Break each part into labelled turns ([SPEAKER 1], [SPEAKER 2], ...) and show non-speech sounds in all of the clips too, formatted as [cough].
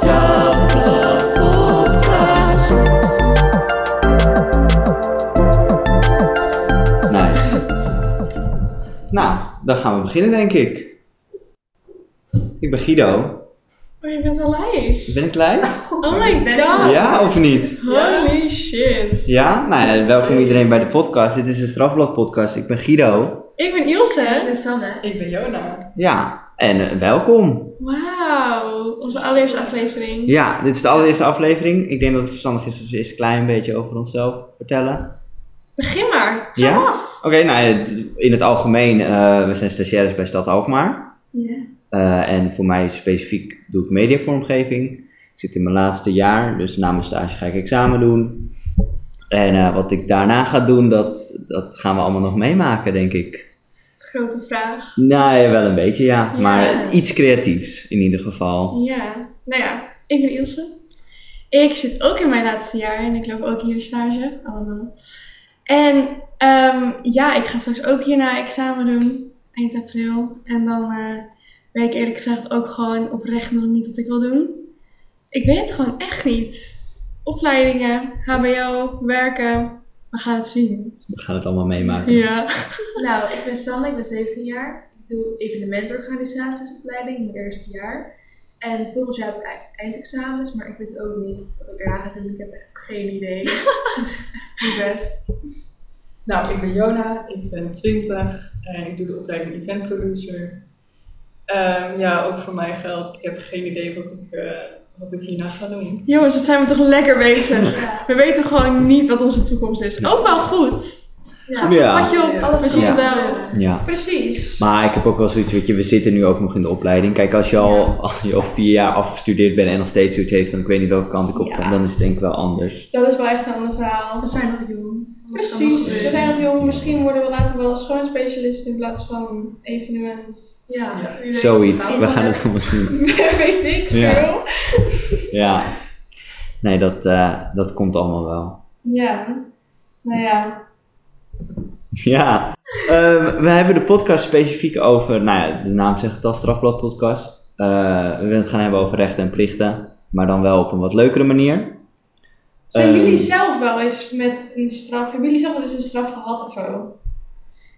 [SPEAKER 1] Strafblad Podcast.
[SPEAKER 2] Nee. Nou, dan gaan we beginnen, denk ik. Ik ben Guido.
[SPEAKER 3] Oh, je bent alive.
[SPEAKER 2] Ben ik live?
[SPEAKER 3] Oh my
[SPEAKER 1] Ben ik
[SPEAKER 3] god.
[SPEAKER 1] live?
[SPEAKER 2] Ja of niet?
[SPEAKER 3] Holy shit.
[SPEAKER 2] Ja? Nou, ja, welkom iedereen bij de podcast. Dit is de Strafblad Podcast. Ik ben Guido.
[SPEAKER 3] Ik ben Ilse.
[SPEAKER 1] ben Sanne.
[SPEAKER 4] Ik ben Jona.
[SPEAKER 2] Ja, en eh, welkom.
[SPEAKER 3] Wauw. Onze allereerste aflevering.
[SPEAKER 2] Ja, dit is de allereerste aflevering. Ik denk dat het verstandig is als we eerst een klein beetje over onszelf vertellen.
[SPEAKER 3] Begin maar. Trap
[SPEAKER 2] Ja?
[SPEAKER 3] af.
[SPEAKER 2] Oké, nou, eh, d- in het algemeen, eh, we zijn stagiaires bij Stad Alkmaar.
[SPEAKER 4] Ja.
[SPEAKER 2] Eh, en voor mij specifiek doe ik mediavormgeving. Ik zit in mijn laatste jaar, dus na mijn stage ga ik examen doen. En eh, wat ik daarna ga doen, dat, dat gaan we allemaal nog meemaken, denk ik.
[SPEAKER 3] Grote vraag.
[SPEAKER 2] Nou, ja, wel een beetje, ja.
[SPEAKER 3] Ja.
[SPEAKER 2] Maar iets creatiefs in ieder geval.
[SPEAKER 3] Ja. Nou ja, ik ben Ilse. Ik zit ook in mijn laatste jaar en ik loop ook hier stage. Allemaal. En ehm, ja, ik ga straks ook hierna examen doen. Eind april. En dan eh, weet ik eerlijk gezegd ook gewoon oprecht nog niet wat ik wil doen. Ik weet het gewoon echt niet. Opleidingen, HBO, werken. We gaan het zien.
[SPEAKER 2] We gaan het allemaal meemaken.
[SPEAKER 3] Ja.
[SPEAKER 1] Nou, ik ben Sanne, ik ben 17 jaar. Ik doe evenementorganisatiesopleiding mijn eerste jaar. En volgend jaar heb ik ei- eindexamens, maar ik weet ook niet wat ik eraan ga doen. Ik heb echt geen
[SPEAKER 3] [laughs]
[SPEAKER 1] idee. Niet best.
[SPEAKER 4] Nou, ik ben Jona, ik ben 20 en ik doe de opleiding event producer. Ehm, ja, ook voor mij geldt. Ik heb geen idee wat ik, eh, wat ik hierna ga doen.
[SPEAKER 3] Jongens, wat zijn we toch lekker bezig.
[SPEAKER 1] Ja.
[SPEAKER 3] We weten gewoon niet wat onze toekomst is. Ook wel goed.
[SPEAKER 1] Ja.
[SPEAKER 2] Ja.
[SPEAKER 3] Wat je op,
[SPEAKER 4] Alles
[SPEAKER 3] we zien het
[SPEAKER 1] Ja.
[SPEAKER 3] wel.
[SPEAKER 2] ja.
[SPEAKER 3] Precies.
[SPEAKER 2] Maar ik heb ook wel zoiets, weet je, we zitten nu ook nog in de opleiding. Kijk, als je al,
[SPEAKER 3] Ja.
[SPEAKER 2] [laughs] als je al vier jaar afgestudeerd bent en nog steeds zoiets heeft van ik weet niet welke kant ik op
[SPEAKER 3] Ja.
[SPEAKER 2] ga, dan is het denk ik wel anders.
[SPEAKER 3] Dat is wel echt een ander verhaal.
[SPEAKER 1] We zijn nog jong. Alles kan nog
[SPEAKER 3] Precies, we
[SPEAKER 1] gebeuren.
[SPEAKER 3] zijn nog jong. Misschien worden we later wel schoonspecialist in plaats van evenement. [laughs]
[SPEAKER 1] Ja.
[SPEAKER 3] Wie weet.
[SPEAKER 2] Zoiets, we
[SPEAKER 3] anders.
[SPEAKER 2] gaan het allemaal zien.
[SPEAKER 3] weet ik veel.
[SPEAKER 2] Ja.
[SPEAKER 3] Ja.
[SPEAKER 2] Ja. Nee, dat, eh, dat komt allemaal wel. [laughs]
[SPEAKER 3] Nou ja.
[SPEAKER 2] Ja. Ehm, we hebben de podcast specifiek over, nou ja, de naam zegt het al, Strafblad Podcast. Eh, we willen het gaan hebben over rechten en plichten, maar dan wel op een wat leukere manier.
[SPEAKER 3] Zijn
[SPEAKER 2] Ehm.
[SPEAKER 3] jullie zelf wel eens met een straf? Hebben jullie zelf wel eens een straf gehad of zo?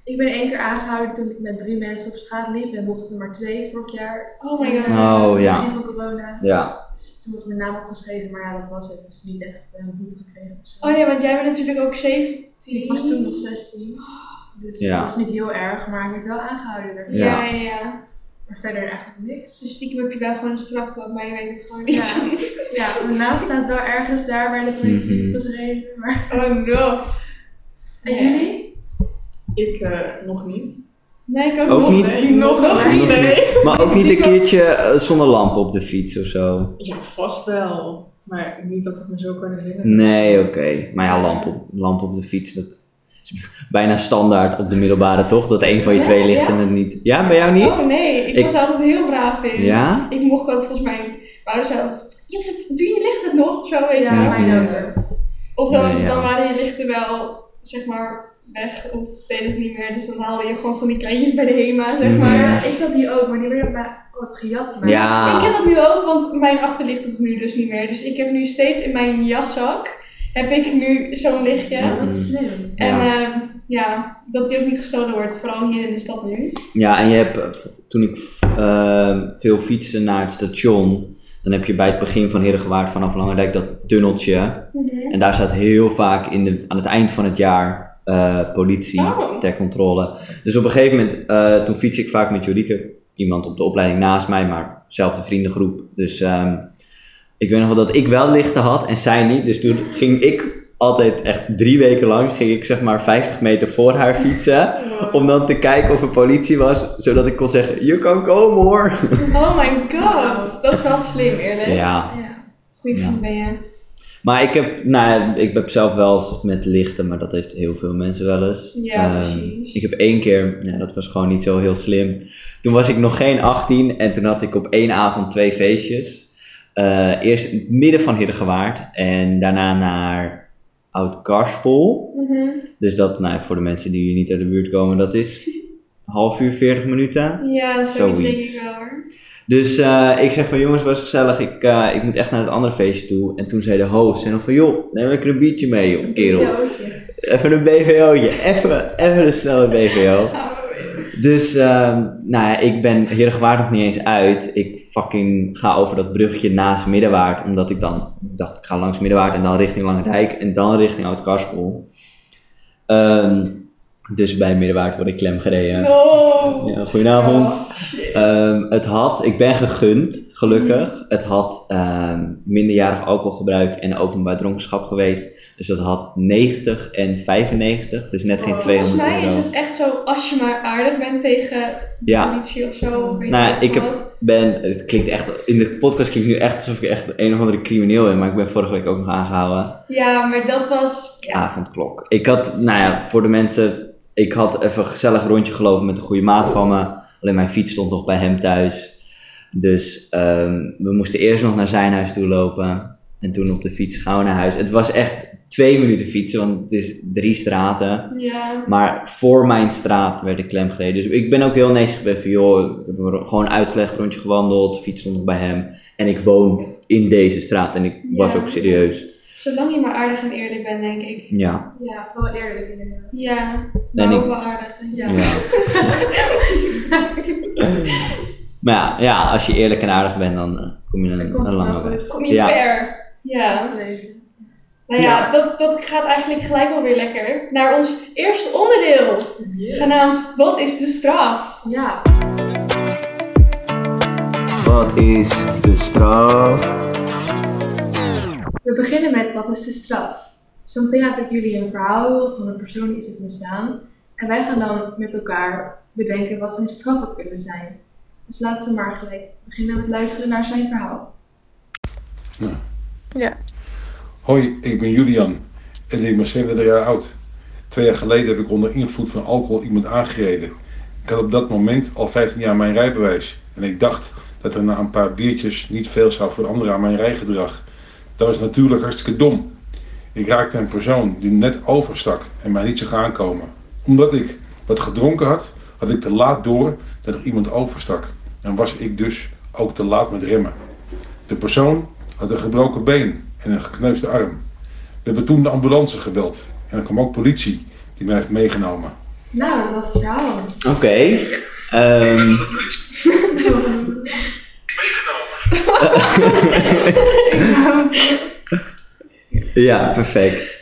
[SPEAKER 1] Ik ben één keer aangehouden toen ik met drie mensen op straat liep en mocht er maar twee vorig jaar.
[SPEAKER 3] Oh my god.
[SPEAKER 2] Oh, ja.
[SPEAKER 1] Begin van corona.
[SPEAKER 2] Ja.
[SPEAKER 1] Dus toen was mijn naam opgeschreven, maar ja, dat was het. Dus niet echt eh, een boete gekregen of zo.
[SPEAKER 3] Oh nee, want jij bent natuurlijk ook 17.
[SPEAKER 1] Ik was toen nog 16. Dus
[SPEAKER 2] Ja.
[SPEAKER 1] dat was niet heel erg, maar ik werd wel aangehouden. werd.
[SPEAKER 2] Ja.
[SPEAKER 3] Ja, ja, ja.
[SPEAKER 1] Maar verder eigenlijk niks.
[SPEAKER 3] Dus stiekem heb je wel gewoon een strafblad, maar je weet het gewoon niet.
[SPEAKER 1] Ja, mijn naam staat wel ergens daar bij de politie
[SPEAKER 2] Mhm.
[SPEAKER 1] beschreven. Maar...
[SPEAKER 3] Oh no.
[SPEAKER 1] En
[SPEAKER 3] Nee.
[SPEAKER 1] jullie?
[SPEAKER 4] Ik eh, nog niet.
[SPEAKER 3] Nee, ik ook,
[SPEAKER 2] Ook
[SPEAKER 3] nog
[SPEAKER 2] niet.
[SPEAKER 3] niet. Nog, nog
[SPEAKER 2] Nog
[SPEAKER 3] niet.
[SPEAKER 2] niet. Maar ook niet
[SPEAKER 3] Oh, [laughs] Die
[SPEAKER 2] een
[SPEAKER 3] was-
[SPEAKER 2] keertje eh, zonder lamp op de fiets of zo.
[SPEAKER 4] Ja, vast wel. Maar niet dat ik me zo kan herinneren.
[SPEAKER 2] Nee, oké. Maar ja, lamp op, lamp op de fiets, dat is bijna standaard op de middelbare toch? Dat één van je
[SPEAKER 3] Ja,
[SPEAKER 2] twee ligt
[SPEAKER 3] ja.
[SPEAKER 2] en het niet. Ja, bij jou niet?
[SPEAKER 3] Oh nee, ik,
[SPEAKER 2] Ik-
[SPEAKER 3] was er altijd heel braaf in.
[SPEAKER 2] Ja?
[SPEAKER 3] Ik mocht ook volgens mij, mijn ouders zeiden altijd, Ilse, doe je licht het nog? Of zo, weet je
[SPEAKER 1] Ja,
[SPEAKER 3] wel.
[SPEAKER 1] mijn
[SPEAKER 2] Ja.
[SPEAKER 1] naam.
[SPEAKER 3] Of dan,
[SPEAKER 2] Nee, ja.
[SPEAKER 3] dan waren je lichten wel, zeg maar, weg of deed het niet meer. Dus dan haalde je gewoon van die kleintjes bij de HEMA, zeg
[SPEAKER 2] Mhm.
[SPEAKER 3] maar.
[SPEAKER 1] Ja, ik had die ook, maar die werden mij wat gejat. Maar
[SPEAKER 2] Ja.
[SPEAKER 3] Ik heb dat nu ook, want mijn achterlicht doet het nu dus niet meer. Dus ik heb nu steeds in mijn jaszak, heb ik nu zo'n lichtje.
[SPEAKER 2] Ja.
[SPEAKER 1] Dat is slim.
[SPEAKER 3] En eh,
[SPEAKER 2] Ja.
[SPEAKER 3] ja. ja, dat die ook niet gestolen wordt, vooral hier in de stad nu.
[SPEAKER 2] Ja, en je hebt, eh, toen ik eh, veel fietste naar het station, dan heb je bij het begin van Herengewaard vanaf Langendijk dat tunneltje. En daar staat heel vaak in de, aan het eind van het jaar eh, politie
[SPEAKER 3] Oh.
[SPEAKER 2] ter controle. Dus op een gegeven moment, eh, toen fiets ik vaak met Jorieke, iemand op de opleiding naast mij, maar zelfde vriendengroep. Dus ehm, ik weet nog wel dat ik wel lichten had en zij niet. Dus toen ging ik altijd echt drie weken lang, ging ik zeg maar 50 meter voor haar fietsen. Om dan te kijken of er politie was, zodat ik kon zeggen, you can come hoor.
[SPEAKER 3] Oh my god, dat is wel slim eerlijk.
[SPEAKER 2] Ja,
[SPEAKER 1] Ja.
[SPEAKER 3] Goeie
[SPEAKER 2] Ja.
[SPEAKER 3] vriend ben je.
[SPEAKER 2] maar ik heb, nou, ja, ik heb zelf wel eens met lichten, maar dat heeft heel veel mensen wel eens.
[SPEAKER 3] Ja,
[SPEAKER 2] Ehm,
[SPEAKER 3] precies.
[SPEAKER 2] Ik heb één keer, ja, dat was gewoon niet zo heel slim. Toen was ik nog geen 18 en toen had ik op één avond twee feestjes. Eh, eerst in het midden van Hiddegewaard en daarna naar Oud-Karspol.
[SPEAKER 3] Mhm.
[SPEAKER 2] Dus dat, nou, ja, voor de mensen die hier niet uit de buurt komen, dat is half uur, 40 minuten.
[SPEAKER 3] Ja, zoiets denk
[SPEAKER 2] Zoiets.
[SPEAKER 3] ik wel hoor.
[SPEAKER 2] Dus eh, ik zeg van jongens, was gezellig. Ik, eh, ik moet echt naar het andere feestje toe. En toen zei de host, zei nog van joh, neem lekker een biertje mee joh, kerel. Even een BVO'tje. Even, even een snelle BVO. Dus ehm, nou ja, ik ben Heergewaard nog niet eens uit. Ik fucking ga over dat bruggetje naast Middenwaard. Omdat ik dan dacht, ik ga langs Middenwaard en dan richting Langrijk. En dan richting Oud-Karspel. Ehm, dus bij Middenwaard word ik klem gereden.
[SPEAKER 4] No!
[SPEAKER 2] Ja, goedenavond.
[SPEAKER 3] Oh,
[SPEAKER 2] Ehm, het had, ik ben gegund,
[SPEAKER 3] Mm.
[SPEAKER 2] gelukkig. Het had ehm, minderjarig alcoholgebruik en openbaar dronkenschap geweest. Dus dat had 90 en 95, dus net geen
[SPEAKER 4] Oh,
[SPEAKER 3] Volgens
[SPEAKER 2] 200
[SPEAKER 3] mij is
[SPEAKER 2] euro.
[SPEAKER 3] het echt zo, als je maar aardig bent tegen de
[SPEAKER 2] Ja,
[SPEAKER 3] politie of zo. Of weet
[SPEAKER 2] Nou, ik heb-
[SPEAKER 3] wat.
[SPEAKER 2] ben, het klinkt echt, in de podcast klinkt nu echt alsof ik echt een of andere crimineel ben, maar ik ben vorige week ook nog aangehouden.
[SPEAKER 3] Ja, maar dat was...
[SPEAKER 2] Avondklok. Ik had, nou ja, voor de mensen, ik had even een gezellig rondje gelopen met een goede maat van me. Alleen mijn fiets stond nog bij hem thuis. Dus ehm, we moesten eerst nog naar zijn huis toe lopen. En toen op de fiets gauw naar huis. Het was echt twee minuten fietsen, want het is drie straten.
[SPEAKER 3] Ja.
[SPEAKER 2] Maar voor mijn straat werd ik klem gereden. Dus ik ben ook heel netjes geweest van, joh, ik heb er gewoon uitgelegd, rondje gewandeld, fiets stond nog bij hem. En ik woon in deze straat en ik was
[SPEAKER 3] Ja.
[SPEAKER 2] ook serieus.
[SPEAKER 3] Zolang je maar aardig en eerlijk bent, denk ik.
[SPEAKER 2] Ja.
[SPEAKER 1] Ja, vooral eerlijk inderdaad.
[SPEAKER 3] Ja,
[SPEAKER 2] En
[SPEAKER 3] maar
[SPEAKER 2] ik-
[SPEAKER 3] ook wel aardig.
[SPEAKER 1] Ja.
[SPEAKER 2] ja.
[SPEAKER 3] [laughs]
[SPEAKER 2] maar ja, ja, als je eerlijk en aardig bent, dan eh, kom je
[SPEAKER 1] Dan
[SPEAKER 2] een,
[SPEAKER 1] komt
[SPEAKER 2] een
[SPEAKER 1] het
[SPEAKER 2] lange
[SPEAKER 1] wel
[SPEAKER 2] weg.
[SPEAKER 1] goed.
[SPEAKER 3] Kom je
[SPEAKER 2] Ja.
[SPEAKER 3] ver. Ja.
[SPEAKER 1] Het leven.
[SPEAKER 3] Nou ja,
[SPEAKER 2] Ja.
[SPEAKER 3] Dat, dat gaat eigenlijk gelijk wel weer lekker naar ons eerste onderdeel.
[SPEAKER 4] Yes.
[SPEAKER 3] Genaamd Wat is de straf?
[SPEAKER 1] Ja,
[SPEAKER 2] Wat is de straf?
[SPEAKER 1] We beginnen met wat is de straf? Zometeen laat ik jullie een verhaal horen van een persoon die is het misdaan. En wij gaan dan met elkaar bedenken wat zijn straf had kunnen zijn. Dus laten we maar gelijk beginnen met luisteren naar zijn verhaal.
[SPEAKER 5] Hoi, ik ben Julian en ik ben 37 jaar oud. Twee jaar geleden heb ik onder invloed van alcohol iemand aangereden. Ik had op dat moment al 15 jaar mijn rijbewijs en ik dacht dat er na een paar biertjes niet veel zou veranderen aan mijn rijgedrag. Dat was natuurlijk hartstikke dom. Ik raakte een persoon die net overstak en mij niet zag aankomen. Omdat ik wat gedronken had, had ik te laat door dat er iemand overstak en was ik dus ook te laat met remmen. De persoon had een gebroken been en een gekneusde arm. We hebben toen de ambulance gebeld en er kwam ook politie die mij heeft meegenomen.
[SPEAKER 1] Nou, dat was het verhaal.
[SPEAKER 2] Oké. ehm, [laughs] ja, perfect.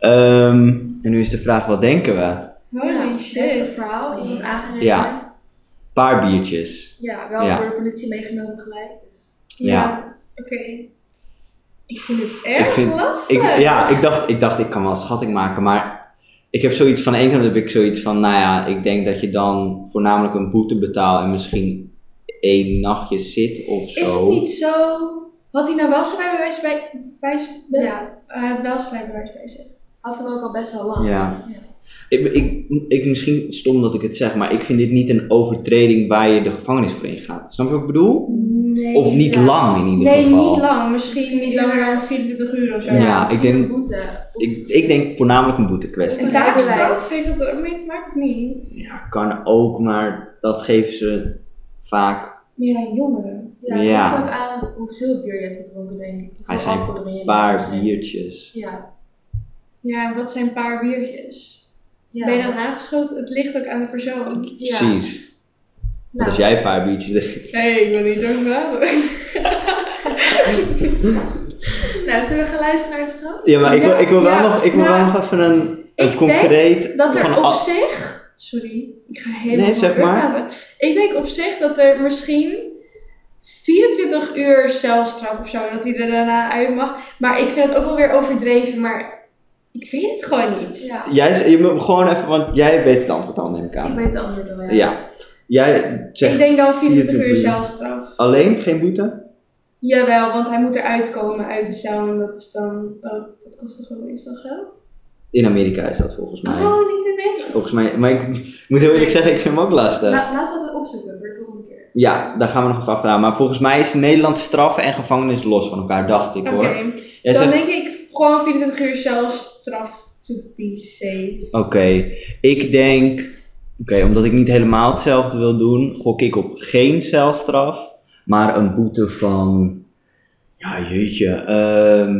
[SPEAKER 2] Ehm, en nu is de vraag, wat denken we?
[SPEAKER 3] Holy
[SPEAKER 1] Ja, heftig
[SPEAKER 3] shit.
[SPEAKER 1] verhaal. Iemand aangereden.
[SPEAKER 2] Ja. Paar biertjes.
[SPEAKER 1] Ja, wel
[SPEAKER 2] Ja.
[SPEAKER 1] door de politie meegenomen gelijk.
[SPEAKER 3] Ja.
[SPEAKER 2] Ja.
[SPEAKER 3] Oké. Ik vind het erg
[SPEAKER 2] Ik vind-
[SPEAKER 3] lastig.
[SPEAKER 2] Ik, ja, ik dacht, ik dacht, ik kan wel een schatting maken, maar ik heb zoiets van, aan de ene kant heb ik zoiets van, nou ja, ik denk dat je dan voornamelijk een boete betaalt en misschien één nachtje zit of zo.
[SPEAKER 3] Is het niet zo... Had hij nou wel zijn rijbewijs bij... bij bij-
[SPEAKER 1] Ja,
[SPEAKER 3] eh, het wel zijn rijbewijs bij zich.
[SPEAKER 1] had hem ook al best wel lang.
[SPEAKER 2] Ja. Ik, ik, ik, misschien stom dat ik het zeg, maar ik vind dit niet een overtreding waar je de gevangenis voor ingaat. Snap je wat ik bedoel?
[SPEAKER 3] Nee.
[SPEAKER 2] Of niet
[SPEAKER 1] ja.
[SPEAKER 2] lang in ieder
[SPEAKER 3] nee,
[SPEAKER 2] geval.
[SPEAKER 3] niet lang. Misschien niet langer dan 24 uur of zo.
[SPEAKER 2] Ja, ik
[SPEAKER 1] misschien
[SPEAKER 2] denk-
[SPEAKER 1] een boete. Of-
[SPEAKER 2] Ik, ik denk voornamelijk een boete kwestie.
[SPEAKER 3] Een
[SPEAKER 1] Rijbewijs.
[SPEAKER 3] taakstraf, heeft dat er ook mee te maken of niet?
[SPEAKER 2] Ja, kan ook, maar dat geven ze vaak
[SPEAKER 3] Meer aan jongeren.
[SPEAKER 1] Ja, het
[SPEAKER 2] Ja.
[SPEAKER 1] ligt ook aan hoeveel bier je hebt gedronken, denk ik. Hoeveel
[SPEAKER 2] Hij zei
[SPEAKER 1] alcohol er in je
[SPEAKER 2] een paar
[SPEAKER 1] lichaam zit.
[SPEAKER 2] biertjes.
[SPEAKER 1] Ja.
[SPEAKER 3] Ja, wat zijn een paar biertjes?
[SPEAKER 1] ja.
[SPEAKER 3] Ben je dan aangeschoten? Het ligt ook aan de persoon.
[SPEAKER 1] Ja.
[SPEAKER 2] Precies.
[SPEAKER 1] Nou,
[SPEAKER 2] Als jij een paar biertjes [laughs] drinkt.
[SPEAKER 3] Hé, hey, ik wil niet over [laughs] praten.
[SPEAKER 1] Nou, zullen we gaan luisteren naar de straf?
[SPEAKER 2] Ja, maar ik wil, ik wil,
[SPEAKER 3] Ja,
[SPEAKER 2] wel, nog, ik wil
[SPEAKER 3] nou,
[SPEAKER 2] wel nog even een,
[SPEAKER 3] ik
[SPEAKER 2] een
[SPEAKER 3] denk
[SPEAKER 2] concreet...
[SPEAKER 3] Dat er
[SPEAKER 2] van
[SPEAKER 3] op
[SPEAKER 2] al-
[SPEAKER 3] zich... Sorry, ik ga helemaal
[SPEAKER 2] Nee, zeg
[SPEAKER 3] van kleur
[SPEAKER 2] maar.
[SPEAKER 3] praten. Ik denk op zich dat er misschien 24 uur celstraf of zo, dat hij er daarna uit mag. Maar ik vind het ook wel weer overdreven, maar ik weet het gewoon niet.
[SPEAKER 1] Ja.
[SPEAKER 2] Jij, z- je moet gewoon even, want jij weet het antwoord al, neem ik
[SPEAKER 1] Ik
[SPEAKER 2] aan.
[SPEAKER 1] weet het antwoord al, ja.
[SPEAKER 2] Ja. Jij zegt
[SPEAKER 3] Ik denk dan 24 uur
[SPEAKER 2] 24 uur.
[SPEAKER 3] celstraf.
[SPEAKER 2] alleen geen boete?
[SPEAKER 3] Jawel, want hij moet eruit komen uit de cel en dat is dan... Oh, dat kost toch gewoon eerst dan geld?
[SPEAKER 2] In Amerika is dat volgens mij.
[SPEAKER 3] Oh, niet in Nederland.
[SPEAKER 2] Volgens mij, maar ik [laughs] moet heel eerlijk zeggen, ik vind hem ook lastig.
[SPEAKER 1] La- laten we dat opzoeken voor de volgende keer.
[SPEAKER 2] Ja, daar gaan we nog even achteraan. Maar volgens mij is Nederland straffen en gevangenis los van elkaar, dacht ik
[SPEAKER 3] Oké,
[SPEAKER 2] hoor. Jij
[SPEAKER 3] dan
[SPEAKER 2] zegt,
[SPEAKER 3] denk ik gewoon 24 uur celstraf to be safe.
[SPEAKER 2] oké, ik denk, oké, omdat ik niet helemaal hetzelfde wil doen, gok ik op geen celstraf. Maar een boete van, ja jeetje, ehm,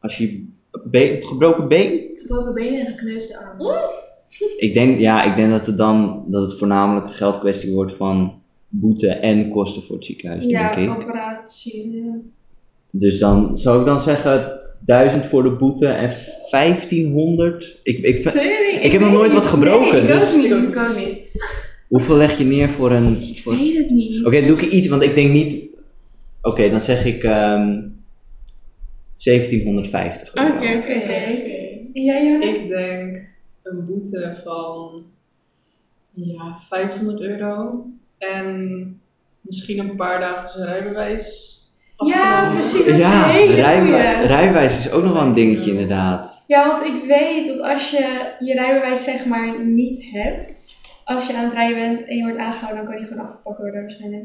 [SPEAKER 2] als je been, gebroken been?
[SPEAKER 1] Gebroken benen en gekneusde armen.
[SPEAKER 3] Mm.
[SPEAKER 2] Ik denk, ja, ik denk dat het dan, dat het voornamelijk een geldkwestie wordt van boete en kosten voor het ziekenhuis,
[SPEAKER 3] Ja,
[SPEAKER 2] denk ik.
[SPEAKER 3] operatie. eh, ja.
[SPEAKER 2] Dus dan zou ik dan zeggen 1000 voor de boete en 1500. Ik, ik,
[SPEAKER 3] Tering,
[SPEAKER 2] Ik heb nog
[SPEAKER 3] weet
[SPEAKER 2] nooit
[SPEAKER 3] niet.
[SPEAKER 2] wat gebroken,
[SPEAKER 3] Nee, ik
[SPEAKER 2] dus-
[SPEAKER 3] ook niet.
[SPEAKER 1] Ik
[SPEAKER 3] Ik
[SPEAKER 1] kan
[SPEAKER 3] ook niet.
[SPEAKER 1] niet.
[SPEAKER 2] hoeveel leg je neer voor een.
[SPEAKER 3] Ik
[SPEAKER 2] voor- Oké,
[SPEAKER 3] weet het niet.
[SPEAKER 2] doe ik iets, want ik denk niet. Oké, dan zeg ik ehm 1750.
[SPEAKER 3] Oké, oké, oké. En jij, Jona?
[SPEAKER 4] Ik denk een boete van ja, 500 euro en misschien een paar dagen zijn rijbewijs.
[SPEAKER 3] Ja,
[SPEAKER 4] afgenomen.
[SPEAKER 3] precies. Dat is
[SPEAKER 2] Ja,
[SPEAKER 3] een hele
[SPEAKER 2] rijbewij-
[SPEAKER 3] goeie.
[SPEAKER 2] rijwijs is ook nog wel een dingetje, inderdaad.
[SPEAKER 3] Ja, want ik weet dat als je je rijbewijs zeg maar niet hebt, als je aan het rijden bent en je wordt aangehouden, dan kan je gewoon afgepakt worden waarschijnlijk.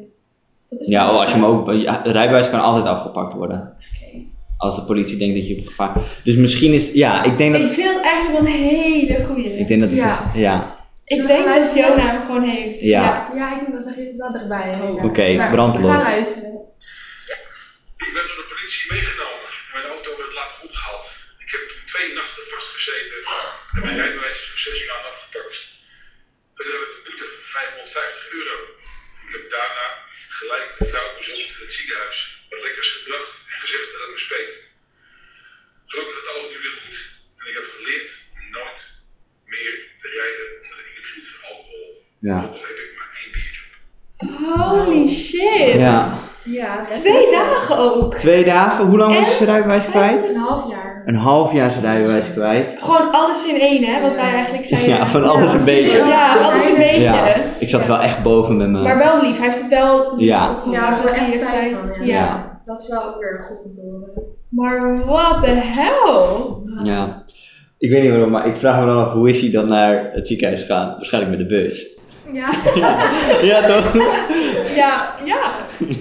[SPEAKER 3] Dat is
[SPEAKER 2] Ja,
[SPEAKER 3] toch
[SPEAKER 2] oh, als je
[SPEAKER 3] zo?
[SPEAKER 2] hem ook. ja, rijbewijs kan altijd afgepakt worden.
[SPEAKER 3] Oké.
[SPEAKER 2] Als de politie denkt dat je op gevaar. Dus misschien is. Ja, ik denk
[SPEAKER 3] Ik
[SPEAKER 2] dat.
[SPEAKER 3] vind het eigenlijk wel een hele goeie.
[SPEAKER 2] Ik denk dat. het-
[SPEAKER 1] Ja.
[SPEAKER 2] ja.
[SPEAKER 3] Ik
[SPEAKER 1] Zullen we
[SPEAKER 3] denk
[SPEAKER 1] gaan
[SPEAKER 3] dat
[SPEAKER 1] luisteren?
[SPEAKER 3] Jona hem gewoon heeft.
[SPEAKER 2] Ja.
[SPEAKER 1] Ja, ik moet wel zeggen, je zit wel dichtbij. hè?
[SPEAKER 4] Oh.
[SPEAKER 1] Ja.
[SPEAKER 2] Oké,
[SPEAKER 1] Nou,
[SPEAKER 2] brandlos.
[SPEAKER 1] Ga luisteren.
[SPEAKER 6] Ik ben door de politie meegenomen en mijn auto werd later opgehaald. Ik heb toen twee nachten vastgezeten en mijn rijbewijs is voor zes uur lang afgepakt. Toen heb ik een boete van 550 euro. Ik heb daarna gelijk de vrouw bezocht in het ziekenhuis. Wat lekkers gebracht en gezegd dat het me speet. Gelukkig gaat alles nu weer goed en ik heb geleerd om nooit meer te rijden onder de invloed van alcohol.
[SPEAKER 2] Ja.
[SPEAKER 6] Alcohol heb ik maar één biertje.
[SPEAKER 3] Holy shit.
[SPEAKER 2] Ja.
[SPEAKER 1] Ja, dat is
[SPEAKER 3] Twee
[SPEAKER 1] goed.
[SPEAKER 3] dagen ook.
[SPEAKER 2] Twee dagen. Hoe lang
[SPEAKER 3] En?
[SPEAKER 2] was je rijbewijs kwijt?
[SPEAKER 1] Een half jaar.
[SPEAKER 2] een half jaar zijn rijbewijs kwijt.
[SPEAKER 3] Gewoon alles in één, hè? Wat wij eigenlijk zijn.
[SPEAKER 2] Ja, van alles een beetje.
[SPEAKER 3] Ja, alles een beetje.
[SPEAKER 2] Ja, ik zat wel echt boven met
[SPEAKER 3] Maar
[SPEAKER 2] mijn.
[SPEAKER 3] wel lief. Hij heeft het wel lief
[SPEAKER 2] Ja.
[SPEAKER 3] opgelost.
[SPEAKER 1] Ja, het wordt
[SPEAKER 3] Dat
[SPEAKER 1] echt
[SPEAKER 3] hij
[SPEAKER 1] spijt
[SPEAKER 3] gelijk-
[SPEAKER 1] van, ja.
[SPEAKER 3] ja.
[SPEAKER 2] Ja.
[SPEAKER 1] Dat is wel ook weer goed om te horen.
[SPEAKER 3] Maar what the hell?
[SPEAKER 2] ja. Ik weet niet waarom, maar ik vraag me dan af hoe is hij dan naar het ziekenhuis gegaan? Waarschijnlijk met de bus.
[SPEAKER 1] Ja.
[SPEAKER 2] Ja, toch?
[SPEAKER 3] Ja, ja.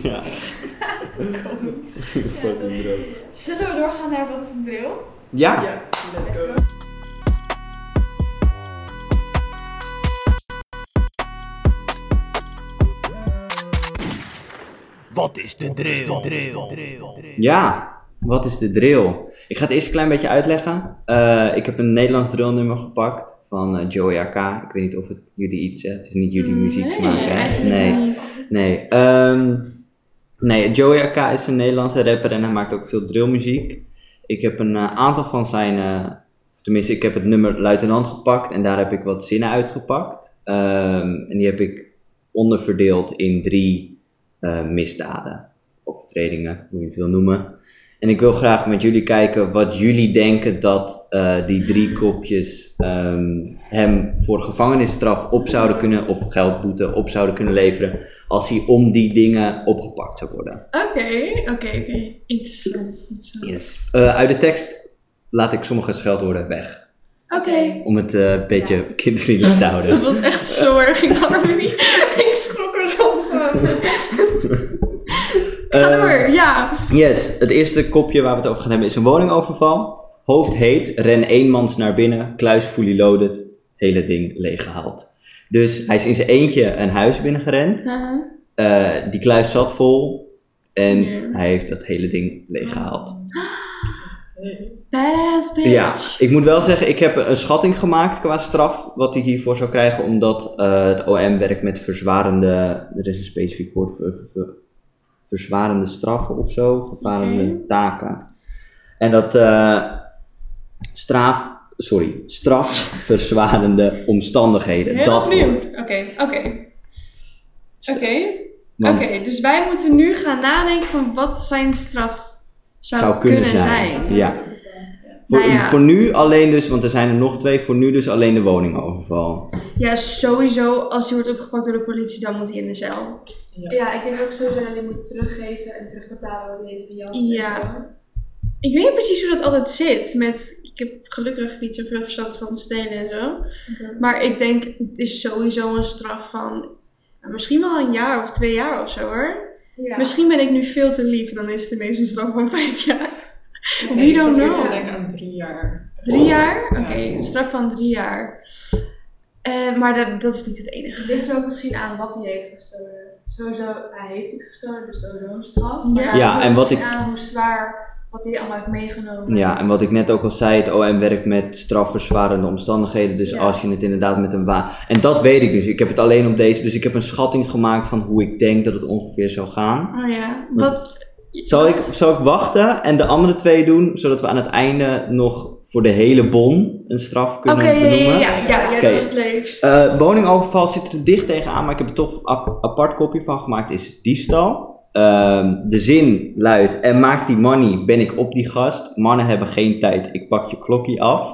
[SPEAKER 2] Ja. Fucking droog.
[SPEAKER 3] Zullen we doorgaan naar wat is het bril?
[SPEAKER 2] Ja.
[SPEAKER 4] Ja, let's go.
[SPEAKER 7] Wat is de drill?
[SPEAKER 2] Ja. Wat is de drill? Ik ga het eerst een klein beetje uitleggen. Eh, ik heb een Nederlands drillnummer gepakt van eh, Joey AK. Ik weet niet of het jullie iets zegt. Het is niet jullie muziek smaak, hè?
[SPEAKER 3] eigenlijk niet.
[SPEAKER 2] Nee, ehm, nee, Joey Aka is een Nederlandse rapper en hij maakt ook veel drillmuziek. Ik heb een eh, aantal van zijn, eh, of tenminste, ik heb het nummer Luitenant gepakt en daar heb ik wat zinnen uitgepakt. Ehm, en die heb ik onderverdeeld in drie eh, misdaden, overtredingen, hoe je het wil noemen. En ik wil graag met jullie kijken wat jullie denken dat eh, die drie kopjes ehm, hem voor gevangenisstraf op zouden kunnen, of geldboete op zouden kunnen leveren, als hij om die dingen opgepakt zou worden.
[SPEAKER 3] Oké, oké, oké. Interessant. interessant.
[SPEAKER 2] Yes. Eh, uit de tekst laat ik sommige scheldwoorden weg,
[SPEAKER 3] Oké.
[SPEAKER 2] om het eh, een beetje kindvriendelijk te houden.
[SPEAKER 3] Dat was echt zorg. Ik had er niet. [laughs] Ik schrok er al van. [laughs]
[SPEAKER 2] Eh,
[SPEAKER 3] Ga door, ja.
[SPEAKER 2] Yes, het eerste kopje waar we het over gaan hebben is een woningoverval. Hoofd heet, ren eenmans naar binnen, kluis fully loaded, hele ding leeggehaald. Dus hij is in zijn eentje een huis binnengerend.
[SPEAKER 3] Uh-huh.
[SPEAKER 2] Eh, die kluis zat vol en
[SPEAKER 3] Ja.
[SPEAKER 2] hij heeft dat hele ding leeggehaald.
[SPEAKER 3] Badass bitch.
[SPEAKER 2] Ja, ik moet wel zeggen, ik heb een schatting gemaakt qua straf wat hij hiervoor zou krijgen, omdat eh, het OM werkt met verzwarende, er is een specifiek woord voor voor- voor verzwarende straffen of zo, vervarende
[SPEAKER 3] Oké.
[SPEAKER 2] taken. En dat eh, straf, sorry, strafverzwarende omstandigheden.
[SPEAKER 3] Heel
[SPEAKER 2] dat
[SPEAKER 3] opnieuw.
[SPEAKER 2] woord.
[SPEAKER 3] Oké, oké. Oké,
[SPEAKER 2] Want-
[SPEAKER 3] oké. Dus wij moeten nu gaan nadenken van wat zijn straf zou,
[SPEAKER 2] zou kunnen, zijn. Ja. Voor,
[SPEAKER 3] Nou ja.
[SPEAKER 2] voor nu alleen dus, want er zijn er nog twee, voor nu dus alleen de woningoverval.
[SPEAKER 3] Ja, sowieso. Als hij wordt opgepakt door de politie, dan moet hij in de cel.
[SPEAKER 1] Ja, ik denk ook sowieso dat hij moet teruggeven en terugbetalen wat hij heeft gejat.
[SPEAKER 3] Ja. Ik weet niet precies hoe dat altijd zit. Met, ik heb gelukkig niet zoveel verstand van stelen en zo. Maar ik denk, het is sowieso een straf van nou, misschien wel een jaar of twee jaar of zo hoor.
[SPEAKER 1] Ja.
[SPEAKER 3] Misschien ben ik nu veel te lief, dan is het ineens een straf van vijf jaar.
[SPEAKER 4] Ja,
[SPEAKER 3] We
[SPEAKER 4] ik zat
[SPEAKER 3] don't
[SPEAKER 4] eerder
[SPEAKER 3] know.
[SPEAKER 4] te denken aan drie jaar.
[SPEAKER 3] Drie jaar? Oké,
[SPEAKER 4] Ja.
[SPEAKER 3] een straf van drie jaar. Eh, maar dat, dat is niet het enige.
[SPEAKER 1] Het ligt er ook misschien aan wat hij heeft gestolen. sowieso, hij heeft iets gestolen, dus sowieso een straf.
[SPEAKER 3] Ja.
[SPEAKER 1] Maar hij
[SPEAKER 2] Ja,
[SPEAKER 1] voelt
[SPEAKER 2] en wat
[SPEAKER 1] zich
[SPEAKER 2] ik-
[SPEAKER 1] Aan hoe zwaar, wat hij allemaal heeft meegenomen.
[SPEAKER 2] Ja, en wat ik net ook al zei, het OM werkt met strafverzwarende omstandigheden. Dus
[SPEAKER 1] Ja.
[SPEAKER 2] als je het inderdaad met een waan. En dat weet ik dus. Ik heb het alleen op deze. Dus ik heb een schatting gemaakt van hoe ik denk dat het ongeveer zou gaan.
[SPEAKER 3] Oh ja, wat...
[SPEAKER 2] Zal ik, zal ik wachten en de andere twee doen, zodat we aan het einde nog voor de hele bon een straf
[SPEAKER 3] Oké,
[SPEAKER 2] kunnen
[SPEAKER 3] ja,
[SPEAKER 2] benoemen?
[SPEAKER 3] ja, ja, ja, ja,
[SPEAKER 2] Oké.
[SPEAKER 3] dat is het leukst.
[SPEAKER 2] Eh, woningoverval zit er dicht tegenaan, maar ik heb er toch een ap- apart kopje van gemaakt. Is diefstal. Ehm, de zin luidt: En maak die money, ben ik op die gast. Mannen hebben geen tijd, ik pak je klokkie af.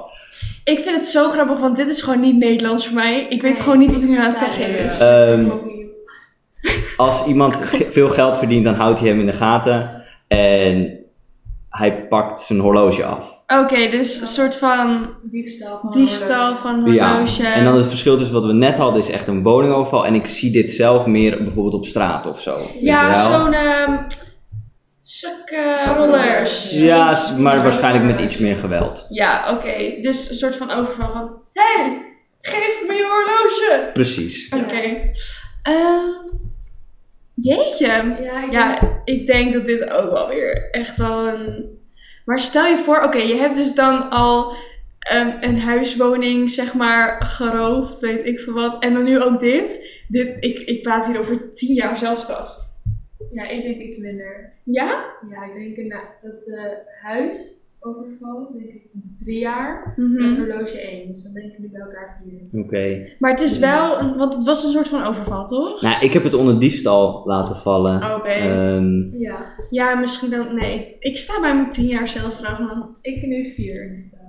[SPEAKER 3] Ik vind het zo grappig, want dit is gewoon niet Nederlands voor mij. Ik weet gewoon niet wat ik nu aan het zeggen is.
[SPEAKER 4] Eh,
[SPEAKER 2] Ehm, als iemand ge- veel geld verdient, dan houdt hij hem in de gaten. En hij pakt zijn horloge af.
[SPEAKER 3] Oké, dus een soort van
[SPEAKER 1] diefstal
[SPEAKER 3] Oh,
[SPEAKER 1] van
[SPEAKER 3] diefstal van een
[SPEAKER 2] Ja.
[SPEAKER 3] horloge.
[SPEAKER 2] En dan het verschil tussen wat we net hadden, is echt een woningoverval. En ik zie dit zelf meer bijvoorbeeld op straat of zo. Weet
[SPEAKER 3] Ja,
[SPEAKER 2] je wel?
[SPEAKER 3] zo'n... ehm suk, eh, rollers.
[SPEAKER 2] Ja, s- maar waarschijnlijk met iets meer geweld.
[SPEAKER 3] Ja, oké. Dus een soort van overval van... Hé, hey, geef me je horloge!
[SPEAKER 2] Precies.
[SPEAKER 3] Oké. Ehm, jeetje.
[SPEAKER 1] Ja, ik denk-
[SPEAKER 3] Ja, ik denk dat dit ook wel weer echt wel een... Maar stel je voor, oké, je hebt dus dan al ehm, een huiswoning, zeg maar, geroofd, weet ik veel wat. En dan nu ook dit. dit ik, ik praat hier over tien jaar zelfstad.
[SPEAKER 1] ja, ik denk iets minder.
[SPEAKER 3] Ja?
[SPEAKER 1] Ja, ik denk inderdaad dat de huisoverval, denk ik, drie jaar.
[SPEAKER 3] Mhm.
[SPEAKER 1] Met horloge één. Dus dan denk ik nu bij elkaar vier.
[SPEAKER 2] Oké.
[SPEAKER 3] Maar het is wel, een, want het was een soort van overval, toch?
[SPEAKER 2] Nou, ik heb het onder diefstal laten vallen.
[SPEAKER 3] Oké.
[SPEAKER 2] Ehm,
[SPEAKER 1] Ja,
[SPEAKER 3] Ja, misschien dan, nee. Ik sta bij mijn tien jaar zelfstraf, man.
[SPEAKER 1] ik nu vier. inderdaad.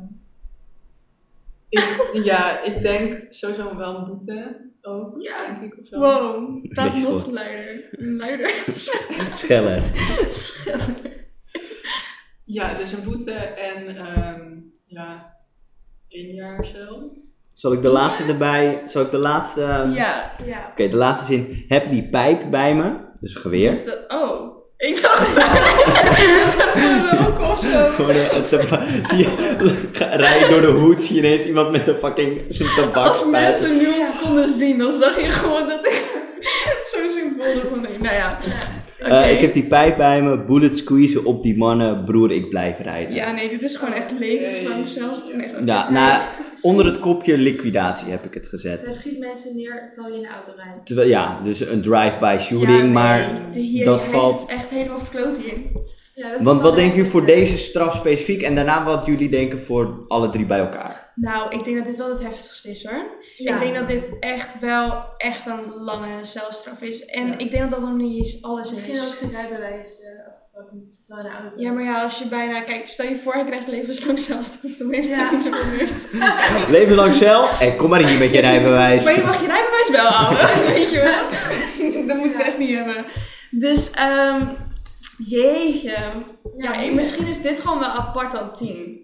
[SPEAKER 4] Ik, ja, ik denk sowieso wel een boete ook,
[SPEAKER 3] Ja.
[SPEAKER 4] denk ik of zo.
[SPEAKER 3] Wow, praat
[SPEAKER 2] Niks
[SPEAKER 3] nog
[SPEAKER 2] voor.
[SPEAKER 3] luider.
[SPEAKER 1] [laughs]
[SPEAKER 3] Luider.
[SPEAKER 2] schellen.
[SPEAKER 4] Ja, dus een boete en ehm, ja, één jaar cel.
[SPEAKER 2] Zal ik de laatste erbij? Zal ik de laatste. ehm, Oké,
[SPEAKER 3] ja.
[SPEAKER 1] Ja.
[SPEAKER 2] de laatste zin. Heb die pijp bij me. Dus een geweer.
[SPEAKER 3] Dus dat, oh, ik dacht [laughs] dat ook of zo.
[SPEAKER 2] [laughs] Gewoon eh, een- een tabak. [laughs] Zie je, ga- rij je door de hoed, zie je ineens iemand met een fucking zo'n
[SPEAKER 3] Als
[SPEAKER 2] tabakspijp.
[SPEAKER 3] mensen nu ons konden zien, dan zag je gewoon dat ik [laughs] zo'n symbool ervan nee. Nou ja, oké.
[SPEAKER 2] Eh, ik heb die pijp bij me, bullet squeezen op die mannen, broer, ik blijf rijden.
[SPEAKER 3] Ja, Dus- nee, dit is gewoon echt levenslang
[SPEAKER 4] Nee.
[SPEAKER 3] zelfs. Nee, gewoon-
[SPEAKER 2] Ja, nou, onder het kopje liquidatie heb ik het gezet.
[SPEAKER 1] Zij schiet mensen neer terwijl je in de auto rijdt.
[SPEAKER 2] Terwijl, ja, dus een drive-by shooting,
[SPEAKER 3] Ja, nee,
[SPEAKER 2] maar...
[SPEAKER 3] de heer,
[SPEAKER 2] dat
[SPEAKER 3] hij
[SPEAKER 2] valt-
[SPEAKER 3] zit echt helemaal verkloot hier.
[SPEAKER 1] Ja, dat is
[SPEAKER 2] Want
[SPEAKER 1] wel
[SPEAKER 2] wat denken
[SPEAKER 1] echt
[SPEAKER 2] jullie voor
[SPEAKER 1] een-
[SPEAKER 2] deze straf specifiek en daarna wat jullie denken voor alle drie bij
[SPEAKER 3] [laughs]
[SPEAKER 2] elkaar?
[SPEAKER 3] Nou, ik denk dat dit wel het heftigste is hoor.
[SPEAKER 1] Ja.
[SPEAKER 3] Ik denk dat dit echt wel echt een lange celstraf is. En
[SPEAKER 4] Ja.
[SPEAKER 3] ik denk dat dat nog niet eens alles
[SPEAKER 1] Misschien
[SPEAKER 3] is.
[SPEAKER 1] ook zijn rijbewijs eh, afgepakt, want het zit wel in de auto.
[SPEAKER 3] Ja, maar ja, als je bijna... Kijk, stel je voor, hij krijgt levenslang zelfstraf. Dan is het
[SPEAKER 1] Ja.
[SPEAKER 3] toch niet zo gebeurd.
[SPEAKER 2] Leven lang cel en kom maar hier
[SPEAKER 3] [laughs]
[SPEAKER 2] met je rijbewijs.
[SPEAKER 3] Maar je mag je rijbewijs wel [laughs] houden, weet je wel. dat moeten we echt niet hebben. Dus, ehm jeetje. Ja, ik- misschien is dit gewoon wel apart dan 10.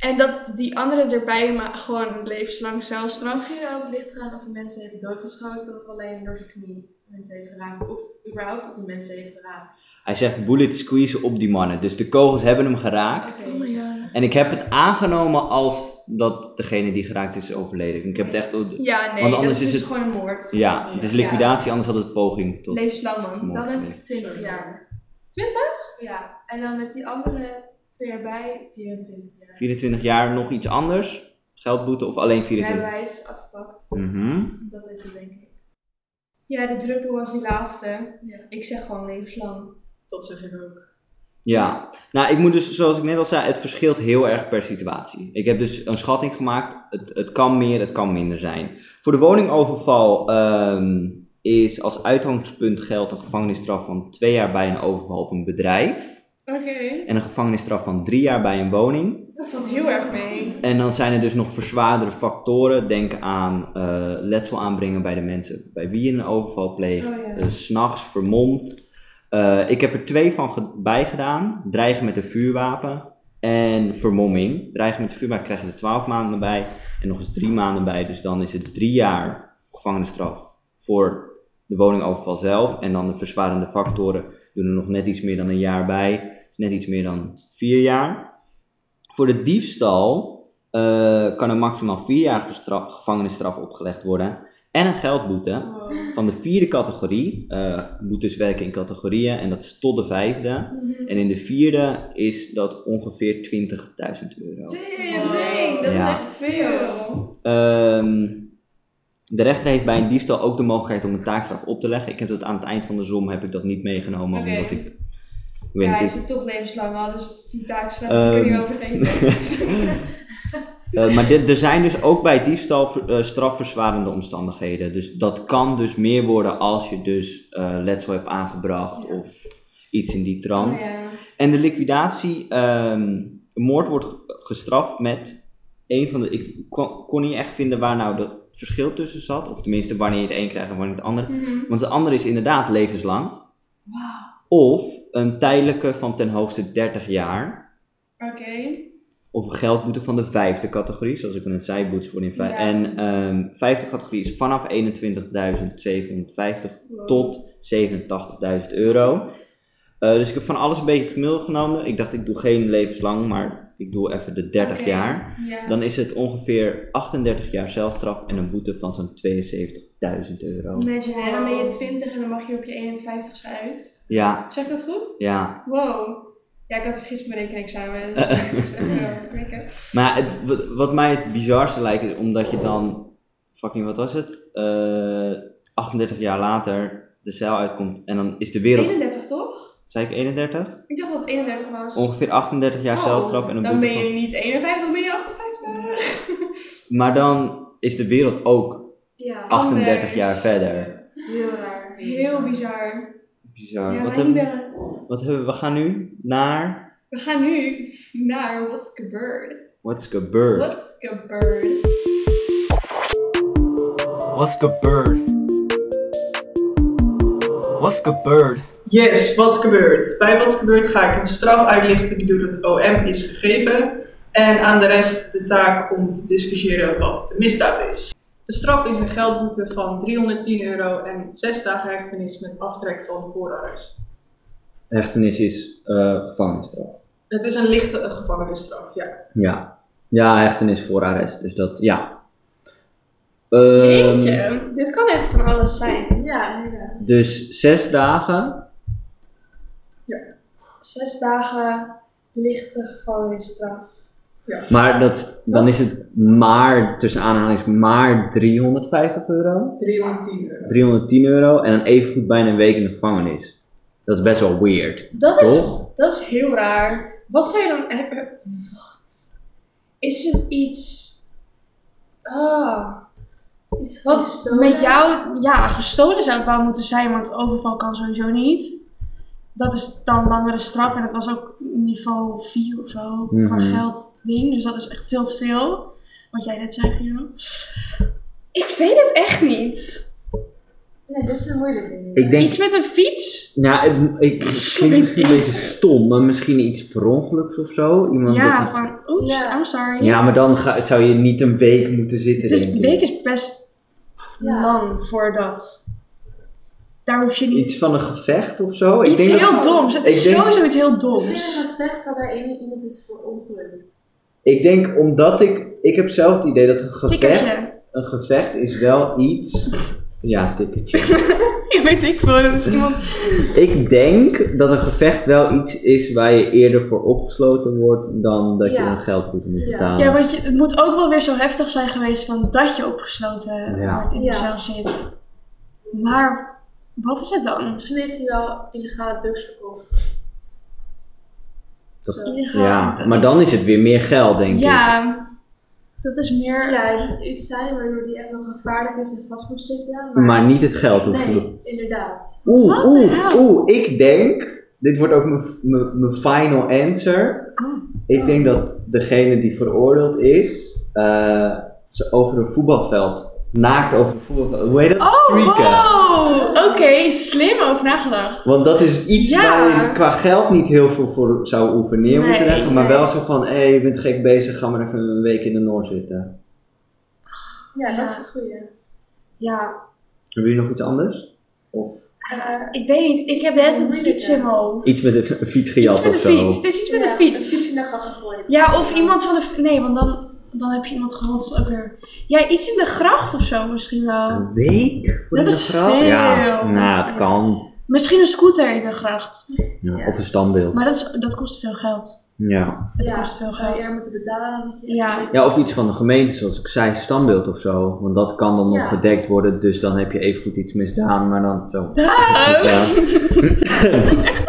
[SPEAKER 3] En dat die andere erbij maar gewoon een levenslang celstraf.
[SPEAKER 1] Misschien ook licht eraan of de mensen heeft doodgeschoten of alleen door zijn knie mensen heeft geraakt. Of überhaupt of de mensen heeft geraakt.
[SPEAKER 2] Hij zegt bullet squeeze op die mannen. Dus de kogels hebben hem geraakt.
[SPEAKER 1] Oké.
[SPEAKER 3] Oh my god.
[SPEAKER 2] En ik heb het aangenomen als dat degene die geraakt is overleden. Ik heb het echt...
[SPEAKER 3] Ja, nee,
[SPEAKER 2] Want
[SPEAKER 3] dat
[SPEAKER 2] anders
[SPEAKER 3] is
[SPEAKER 2] is
[SPEAKER 3] dus
[SPEAKER 2] het-
[SPEAKER 3] gewoon een moord.
[SPEAKER 2] Ja, het is liquidatie, anders had het poging tot...
[SPEAKER 3] Levenslang, man.
[SPEAKER 2] Mooi.
[SPEAKER 1] Dan heb ik 20
[SPEAKER 4] Sorry.
[SPEAKER 1] jaar.
[SPEAKER 3] 20?
[SPEAKER 1] Ja, en dan met die andere twee jaar bij 24 jaar.
[SPEAKER 2] 24 jaar, nog iets anders? Geldboete of alleen 24?
[SPEAKER 1] Rijbewijs afgepakt.
[SPEAKER 2] Mhm.
[SPEAKER 1] Dat is het denk ik.
[SPEAKER 3] Ja, de druppel was die laatste.
[SPEAKER 1] Ja.
[SPEAKER 3] Ik zeg gewoon levenslang.
[SPEAKER 4] Dat zeg ik ook.
[SPEAKER 2] Ja, nou ik moet dus, zoals ik net al zei, het verschilt heel erg per situatie. Ik heb dus een schatting gemaakt, het, het kan meer, het kan minder zijn. Voor de woningoverval ehm, is als uitgangspunt geldt een gevangenisstraf van twee jaar bij een overval op een bedrijf.
[SPEAKER 3] Oké.
[SPEAKER 2] En een gevangenisstraf van drie jaar bij een woning.
[SPEAKER 3] Dat valt heel erg mee.
[SPEAKER 2] En dan zijn er dus nog verzwaardere factoren. Denk aan eh, letsel aanbrengen bij de mensen bij wie je een overval pleegt.
[SPEAKER 3] Oh ja.
[SPEAKER 2] Eh, s S'nachts vermomd. Eh, ik heb er twee van ge- bij gedaan. Dreigen met een vuurwapen en vermomming. Dreigen met een vuurwapen krijg je er twaalf maanden bij. En nog eens drie maanden bij. Dus dan is het drie jaar gevangenisstraf voor de woningoverval zelf. En dan de verzwarende factoren doen er nog net iets meer dan een jaar bij. Dus net iets meer dan vier jaar. Voor de diefstal eh, kan er maximaal vier jaar gestra- gevangenisstraf opgelegd worden. en een geldboete
[SPEAKER 1] Wow.
[SPEAKER 2] van de vierde categorie. eh boetes werken in categorieën en dat is tot de vijfde.
[SPEAKER 3] Mhm.
[SPEAKER 2] En in de vierde is dat ongeveer 20.000 euro.
[SPEAKER 1] Tering,
[SPEAKER 2] dat is Ja.
[SPEAKER 8] echt veel.
[SPEAKER 2] Ehm, de rechter heeft bij een diefstal ook de mogelijkheid om een taakstraf op te leggen. Ik heb dat aan het eind van de som heb ik dat niet meegenomen,
[SPEAKER 3] Oké.
[SPEAKER 2] omdat ik... ik weet
[SPEAKER 3] Ja,
[SPEAKER 2] niet,
[SPEAKER 3] hij
[SPEAKER 2] ik-
[SPEAKER 3] zit toch levenslang al, dus die taakstraf
[SPEAKER 2] Ehm,
[SPEAKER 3] die kun je wel vergeten.
[SPEAKER 2] [laughs] Eh, maar dit, er zijn dus ook bij diefstal ver- eh, strafverzwarende omstandigheden. Dus dat kan dus meer worden als je dus eh, letsel hebt aangebracht of iets in die trant.
[SPEAKER 3] Oh, ja.
[SPEAKER 2] En de liquidatie, ehm, moord wordt ge- gestraft met een van de. Ik kon, kon niet echt vinden waar nou dat verschil tussen zat. Of tenminste wanneer je het een krijgt en wanneer het ander.
[SPEAKER 3] Hmm. Mhm.
[SPEAKER 2] Want de andere is inderdaad levenslang. Of een tijdelijke van ten hoogste 30 jaar.
[SPEAKER 3] Oké.
[SPEAKER 2] Of een geldboete van de vijfde categorie, zoals ik net zei, boetes worden in vijf.
[SPEAKER 3] Ja.
[SPEAKER 2] En ehm vijfde categorie is vanaf 21.750 tot 87.000 euro. Eh, dus ik heb van alles een beetje gemiddeld genomen. Ik dacht, ik doe geen levenslang, maar ik doe even de 30
[SPEAKER 3] Oké.
[SPEAKER 2] jaar.
[SPEAKER 3] Ja.
[SPEAKER 2] Dan is het ongeveer 38 jaar celstraf en een boete van zo'n 72.000 euro.
[SPEAKER 3] Imagine, hè, dan ben je 20 en dan mag je op je 51ste uit.
[SPEAKER 2] Ja,
[SPEAKER 3] Zeg dat goed?
[SPEAKER 2] ja.
[SPEAKER 3] Wow. Ja, ik had gisteren mijn rekenexamen.
[SPEAKER 2] [laughs]
[SPEAKER 3] Dus ik moest echt zo klikken.
[SPEAKER 2] Maar het, wat- wat mij het bizarste lijkt, is omdat je dan, fucking wat was het, Eh, 38 jaar later de cel uitkomt en dan is de wereld,
[SPEAKER 3] 31 toch?
[SPEAKER 2] zei ik 31?
[SPEAKER 3] Ik dacht dat het 31 was.
[SPEAKER 2] Ongeveer 38 jaar
[SPEAKER 3] Oh,
[SPEAKER 2] celstraf en een
[SPEAKER 3] Dan
[SPEAKER 2] boete
[SPEAKER 3] ben je
[SPEAKER 2] van-
[SPEAKER 3] niet 51, ben je 58.
[SPEAKER 2] Maar dan is de wereld ook
[SPEAKER 1] Ja,
[SPEAKER 2] 38 jaar
[SPEAKER 3] Anders.
[SPEAKER 2] verder.
[SPEAKER 1] heel raar.
[SPEAKER 3] [laughs] Heel bizar.
[SPEAKER 2] Bizar.
[SPEAKER 3] Ja,
[SPEAKER 2] wat,
[SPEAKER 3] wij niet
[SPEAKER 2] hebben,
[SPEAKER 3] bellen.
[SPEAKER 2] wat hebben we, we gaan nu naar
[SPEAKER 3] We gaan nu naar What's Gebeurd.
[SPEAKER 2] What's Gebeurd.
[SPEAKER 3] What's Gebeurd?
[SPEAKER 9] What's gebeurd? What's gebeurd?
[SPEAKER 4] Yes, wat gebeurt? Bij wat gebeurt ga ik een straf uitlichten die door het OM is gegeven. En aan de rest de taak om te discussiëren wat de misdaad is. De straf is een geldboete van 310 euro en 6 dagen hechtenis met aftrek van voorarrest.
[SPEAKER 2] Hechtenis is eh, gevangenisstraf.
[SPEAKER 4] Het is een lichte eh, gevangenisstraf, ja.
[SPEAKER 2] Ja. Ja, hechtenis voor arrest. Dus dat, ja. Ehm,
[SPEAKER 3] Jeetje, dit kan echt van alles zijn.
[SPEAKER 1] Ja, inderdaad.
[SPEAKER 2] dus zes dagen
[SPEAKER 3] Zes dagen lichte gevangenisstraf.
[SPEAKER 2] Maar dat, dan is het maar, tussen aanhalings, maar 350 euro.
[SPEAKER 4] 310 euro.
[SPEAKER 2] 310 euro en dan evengoed bijna een week in de gevangenis. Dat is best wel weird.
[SPEAKER 3] Dat is,
[SPEAKER 2] Toch?
[SPEAKER 3] dat is heel raar. Wat zou je dan... eh, eh, Wat? Is het iets... Ah.
[SPEAKER 1] Iets
[SPEAKER 3] Wat
[SPEAKER 1] gestolen.
[SPEAKER 3] met jou... Ja, gestolen zou het wel moeten zijn, want overval kan sowieso niet. Dat is dan langere straf en het was ook niveau 4 of zo qua
[SPEAKER 2] Mhm.
[SPEAKER 3] geld ding. Dus dat is echt veel te veel. Wat jij net zei, Giro. Ik weet het echt niet.
[SPEAKER 1] Nee, dit is een moeilijke. ding.
[SPEAKER 2] Ik denk,
[SPEAKER 3] Iets met een fiets?
[SPEAKER 2] nou, het, ik, het klinkt misschien een beetje stom, maar misschien iets per ongeluks of zo. Iemand
[SPEAKER 3] Ja,
[SPEAKER 2] dat-
[SPEAKER 3] van... Oeps,
[SPEAKER 1] Ja.
[SPEAKER 3] I'm sorry.
[SPEAKER 2] ja maar dan ga- zou je niet een week moeten zitten.
[SPEAKER 3] Het is,
[SPEAKER 2] denk ik.
[SPEAKER 3] een week is best
[SPEAKER 1] Ja.
[SPEAKER 3] lang voor dat. Daar hoef je niet...
[SPEAKER 2] Iets van een gevecht of zo.
[SPEAKER 3] iets
[SPEAKER 2] ik denk
[SPEAKER 3] heel
[SPEAKER 2] dat,
[SPEAKER 3] doms. Het is
[SPEAKER 2] ik denk-
[SPEAKER 3] sowieso iets heel
[SPEAKER 1] Misschien een
[SPEAKER 3] doms.
[SPEAKER 1] gevecht waarbij een- iemand is verongelukt.
[SPEAKER 2] Ik denk omdat ik, ik heb zelf het idee dat een gevecht,
[SPEAKER 3] Tikkertje.
[SPEAKER 2] een gevecht is wel iets, ja tikkertje.
[SPEAKER 3] [laughs] Ik weet ik voor dat is iemand...
[SPEAKER 2] Ik denk dat een gevecht wel iets is waar je eerder voor opgesloten wordt dan dat je
[SPEAKER 1] Ja.
[SPEAKER 2] een geldboete moet
[SPEAKER 1] Ja.
[SPEAKER 2] betalen.
[SPEAKER 3] Ja, want je, het moet ook wel weer zo heftig zijn geweest van dat je opgesloten
[SPEAKER 2] Ja.
[SPEAKER 3] wordt in de
[SPEAKER 1] Ja.
[SPEAKER 3] cel zit. Maar wat is het dan?
[SPEAKER 1] Misschien heeft hij wel illegale drugs verkocht.
[SPEAKER 2] Dat-
[SPEAKER 1] Zo.
[SPEAKER 3] Illegaal.
[SPEAKER 2] Ja, maar dan is het weer meer geld, denk ik.
[SPEAKER 3] Ja, dat is meer...
[SPEAKER 1] Ja, hij moet iets zijn waardoor hij echt wel gevaarlijk is en vast moet zitten. Maar,
[SPEAKER 2] Maar niet het geld hoeft te doen.
[SPEAKER 1] nee, inderdaad.
[SPEAKER 2] Oeh,
[SPEAKER 3] Wat
[SPEAKER 2] oeh,
[SPEAKER 3] de
[SPEAKER 2] oeh, ik denk, dit wordt ook mijn- mijn mijn final answer.
[SPEAKER 3] Oh.
[SPEAKER 2] Ik denk dat degene die veroordeeld is, eh, ze over een voetbalveld, naakt over een voetbalveld, hoe heet dat?
[SPEAKER 3] Oh,
[SPEAKER 2] Streaken.
[SPEAKER 3] wow! Oh, Oké, slim over nagedacht.
[SPEAKER 2] Want dat is iets
[SPEAKER 3] Ja.
[SPEAKER 2] waar je qua geld niet heel veel voor zou hoeven neer moeten
[SPEAKER 3] Nee,
[SPEAKER 2] leggen. Maar
[SPEAKER 3] nee.
[SPEAKER 2] wel zo van, hé, je bent gek bezig, ga maar even een week in de Noord zitten.
[SPEAKER 1] Ja,
[SPEAKER 3] Ja.
[SPEAKER 1] dat is een goeie.
[SPEAKER 3] Ja,
[SPEAKER 2] Hebben jullie nog iets anders? Of
[SPEAKER 1] Eh,
[SPEAKER 3] Ik weet niet, ik heb net het fiets in mijn hoofd.
[SPEAKER 2] iets met een, een fiets
[SPEAKER 3] Iets
[SPEAKER 2] gejat
[SPEAKER 3] met
[SPEAKER 2] of
[SPEAKER 3] een
[SPEAKER 2] zo?
[SPEAKER 3] fiets. Het is iets met
[SPEAKER 1] ja,
[SPEAKER 3] een
[SPEAKER 1] Een
[SPEAKER 3] fiets.
[SPEAKER 1] fiets in de gang gegooid.
[SPEAKER 3] Ja, of iemand van de. Nee, want dan. Dan heb je iemand gehand, dat is ook weer... Ja, iets in de gracht of zo misschien wel.
[SPEAKER 2] Een week? voor
[SPEAKER 3] Oh. Dat
[SPEAKER 2] die
[SPEAKER 3] is
[SPEAKER 2] grap?
[SPEAKER 3] veel.
[SPEAKER 2] Ja, nou, het kan.
[SPEAKER 3] Misschien een scooter in de gracht.
[SPEAKER 2] Ja, Of een standbeeld.
[SPEAKER 3] Maar dat, is, dat kost veel geld.
[SPEAKER 2] Ja.
[SPEAKER 3] Het
[SPEAKER 1] ja,
[SPEAKER 3] kost veel
[SPEAKER 1] zou je
[SPEAKER 3] geld.
[SPEAKER 1] er moeten betalen? dan dat je
[SPEAKER 3] Ja.
[SPEAKER 1] echt-
[SPEAKER 2] ja, of iets van de gemeente, zoals ik zei, standbeeld of zo. Want dat kan dan
[SPEAKER 1] Ja.
[SPEAKER 2] nog gedekt worden, dus dan heb je evengoed iets misdaan, maar dan zo.
[SPEAKER 3] Duif! [laughs]
[SPEAKER 2] Ja.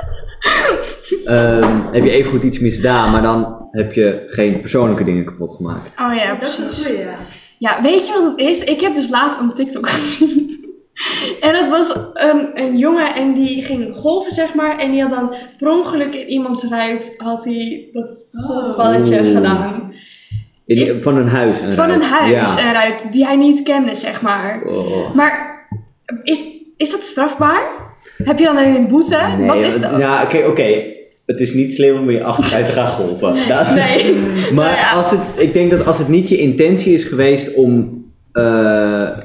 [SPEAKER 2] Ehm, heb je evengoed iets misdaan, maar dan heb je geen persoonlijke dingen kapot gemaakt.
[SPEAKER 3] Oh ja,
[SPEAKER 1] Dat is een
[SPEAKER 3] precies.
[SPEAKER 1] goeie, ja.
[SPEAKER 3] Ja, weet je wat het is? Ik heb dus laatst een TikTok [laughs] gezien. En dat was een, een jongen en die ging golven, zeg maar. En die had dan per ongeluk in iemands ruit had hij dat golfballetje
[SPEAKER 2] Oeh.
[SPEAKER 3] gedaan.
[SPEAKER 2] In die- Van een huis. Een
[SPEAKER 3] Van een
[SPEAKER 2] ruit.
[SPEAKER 3] huis, eh.
[SPEAKER 2] Ja.
[SPEAKER 3] een ruit, die hij niet kende, zeg maar.
[SPEAKER 2] Oh.
[SPEAKER 3] Maar is, is dat strafbaar? Heb je dan een boete?
[SPEAKER 2] Nee,
[SPEAKER 3] wat is
[SPEAKER 2] ja,
[SPEAKER 3] dat?
[SPEAKER 2] Ja, oké, oké. Het is niet slim om je achteruit te gaan golven. Dat-
[SPEAKER 3] Nee.
[SPEAKER 2] Maar
[SPEAKER 3] [laughs] Nou ja.
[SPEAKER 2] als het, ik denk dat als het niet je intentie is geweest om eh,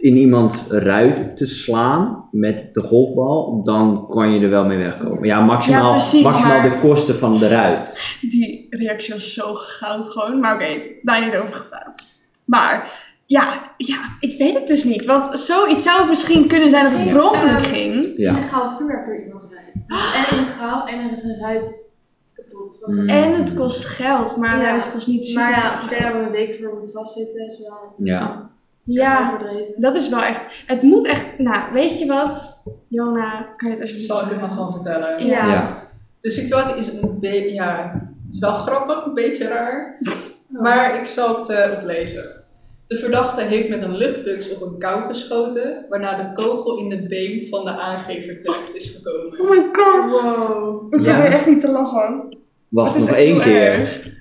[SPEAKER 2] in iemands ruit te slaan met de golfbal, dan kan je er wel mee wegkomen. Ja, maximaal,
[SPEAKER 3] Ja, precies,
[SPEAKER 2] maximaal
[SPEAKER 3] maar-
[SPEAKER 2] de kosten van de ruit.
[SPEAKER 3] Die reactie was zo goud gewoon. Maar oké, daar niet over gepraat. Maar ja, ja, ik weet het dus niet. Want zoiets zou het misschien kunnen zijn dat het per ongeluk
[SPEAKER 1] Ja.
[SPEAKER 3] ging.
[SPEAKER 2] Ja.
[SPEAKER 1] Illegaal vuurwerk door iemands ruit. Het is en illegaal en er is een ruit kapot.
[SPEAKER 2] Mm.
[SPEAKER 3] En het kost geld, maar
[SPEAKER 1] Ja.
[SPEAKER 3] het kost niet super
[SPEAKER 1] Maar ja,
[SPEAKER 3] veel
[SPEAKER 1] of je daar dan
[SPEAKER 3] geld.
[SPEAKER 1] een week voor moet vastzitten is wel
[SPEAKER 2] Ja.
[SPEAKER 3] Ja,
[SPEAKER 1] overdreven.
[SPEAKER 3] dat is wel echt... Het moet echt... Nou, weet je wat? Jona, kan je het alsjeblieft
[SPEAKER 4] Zal ik het nog gewoon vertellen?
[SPEAKER 3] Ja.
[SPEAKER 2] Ja.
[SPEAKER 4] De situatie is een beetje, ja, het is wel grappig, een beetje raar. Maar ik zal het eh, oplezen. De verdachte heeft met een luchtbuks op een kou geschoten, waarna de kogel in het been van de aangever terecht is
[SPEAKER 3] Oh
[SPEAKER 4] gekomen.
[SPEAKER 3] my god!
[SPEAKER 1] Wow.
[SPEAKER 3] Ik
[SPEAKER 4] Ja.
[SPEAKER 3] probeer echt niet te lachen.
[SPEAKER 2] Wacht
[SPEAKER 3] Dat is
[SPEAKER 2] nog
[SPEAKER 3] echt
[SPEAKER 2] één
[SPEAKER 3] heel
[SPEAKER 2] keer.
[SPEAKER 3] erg.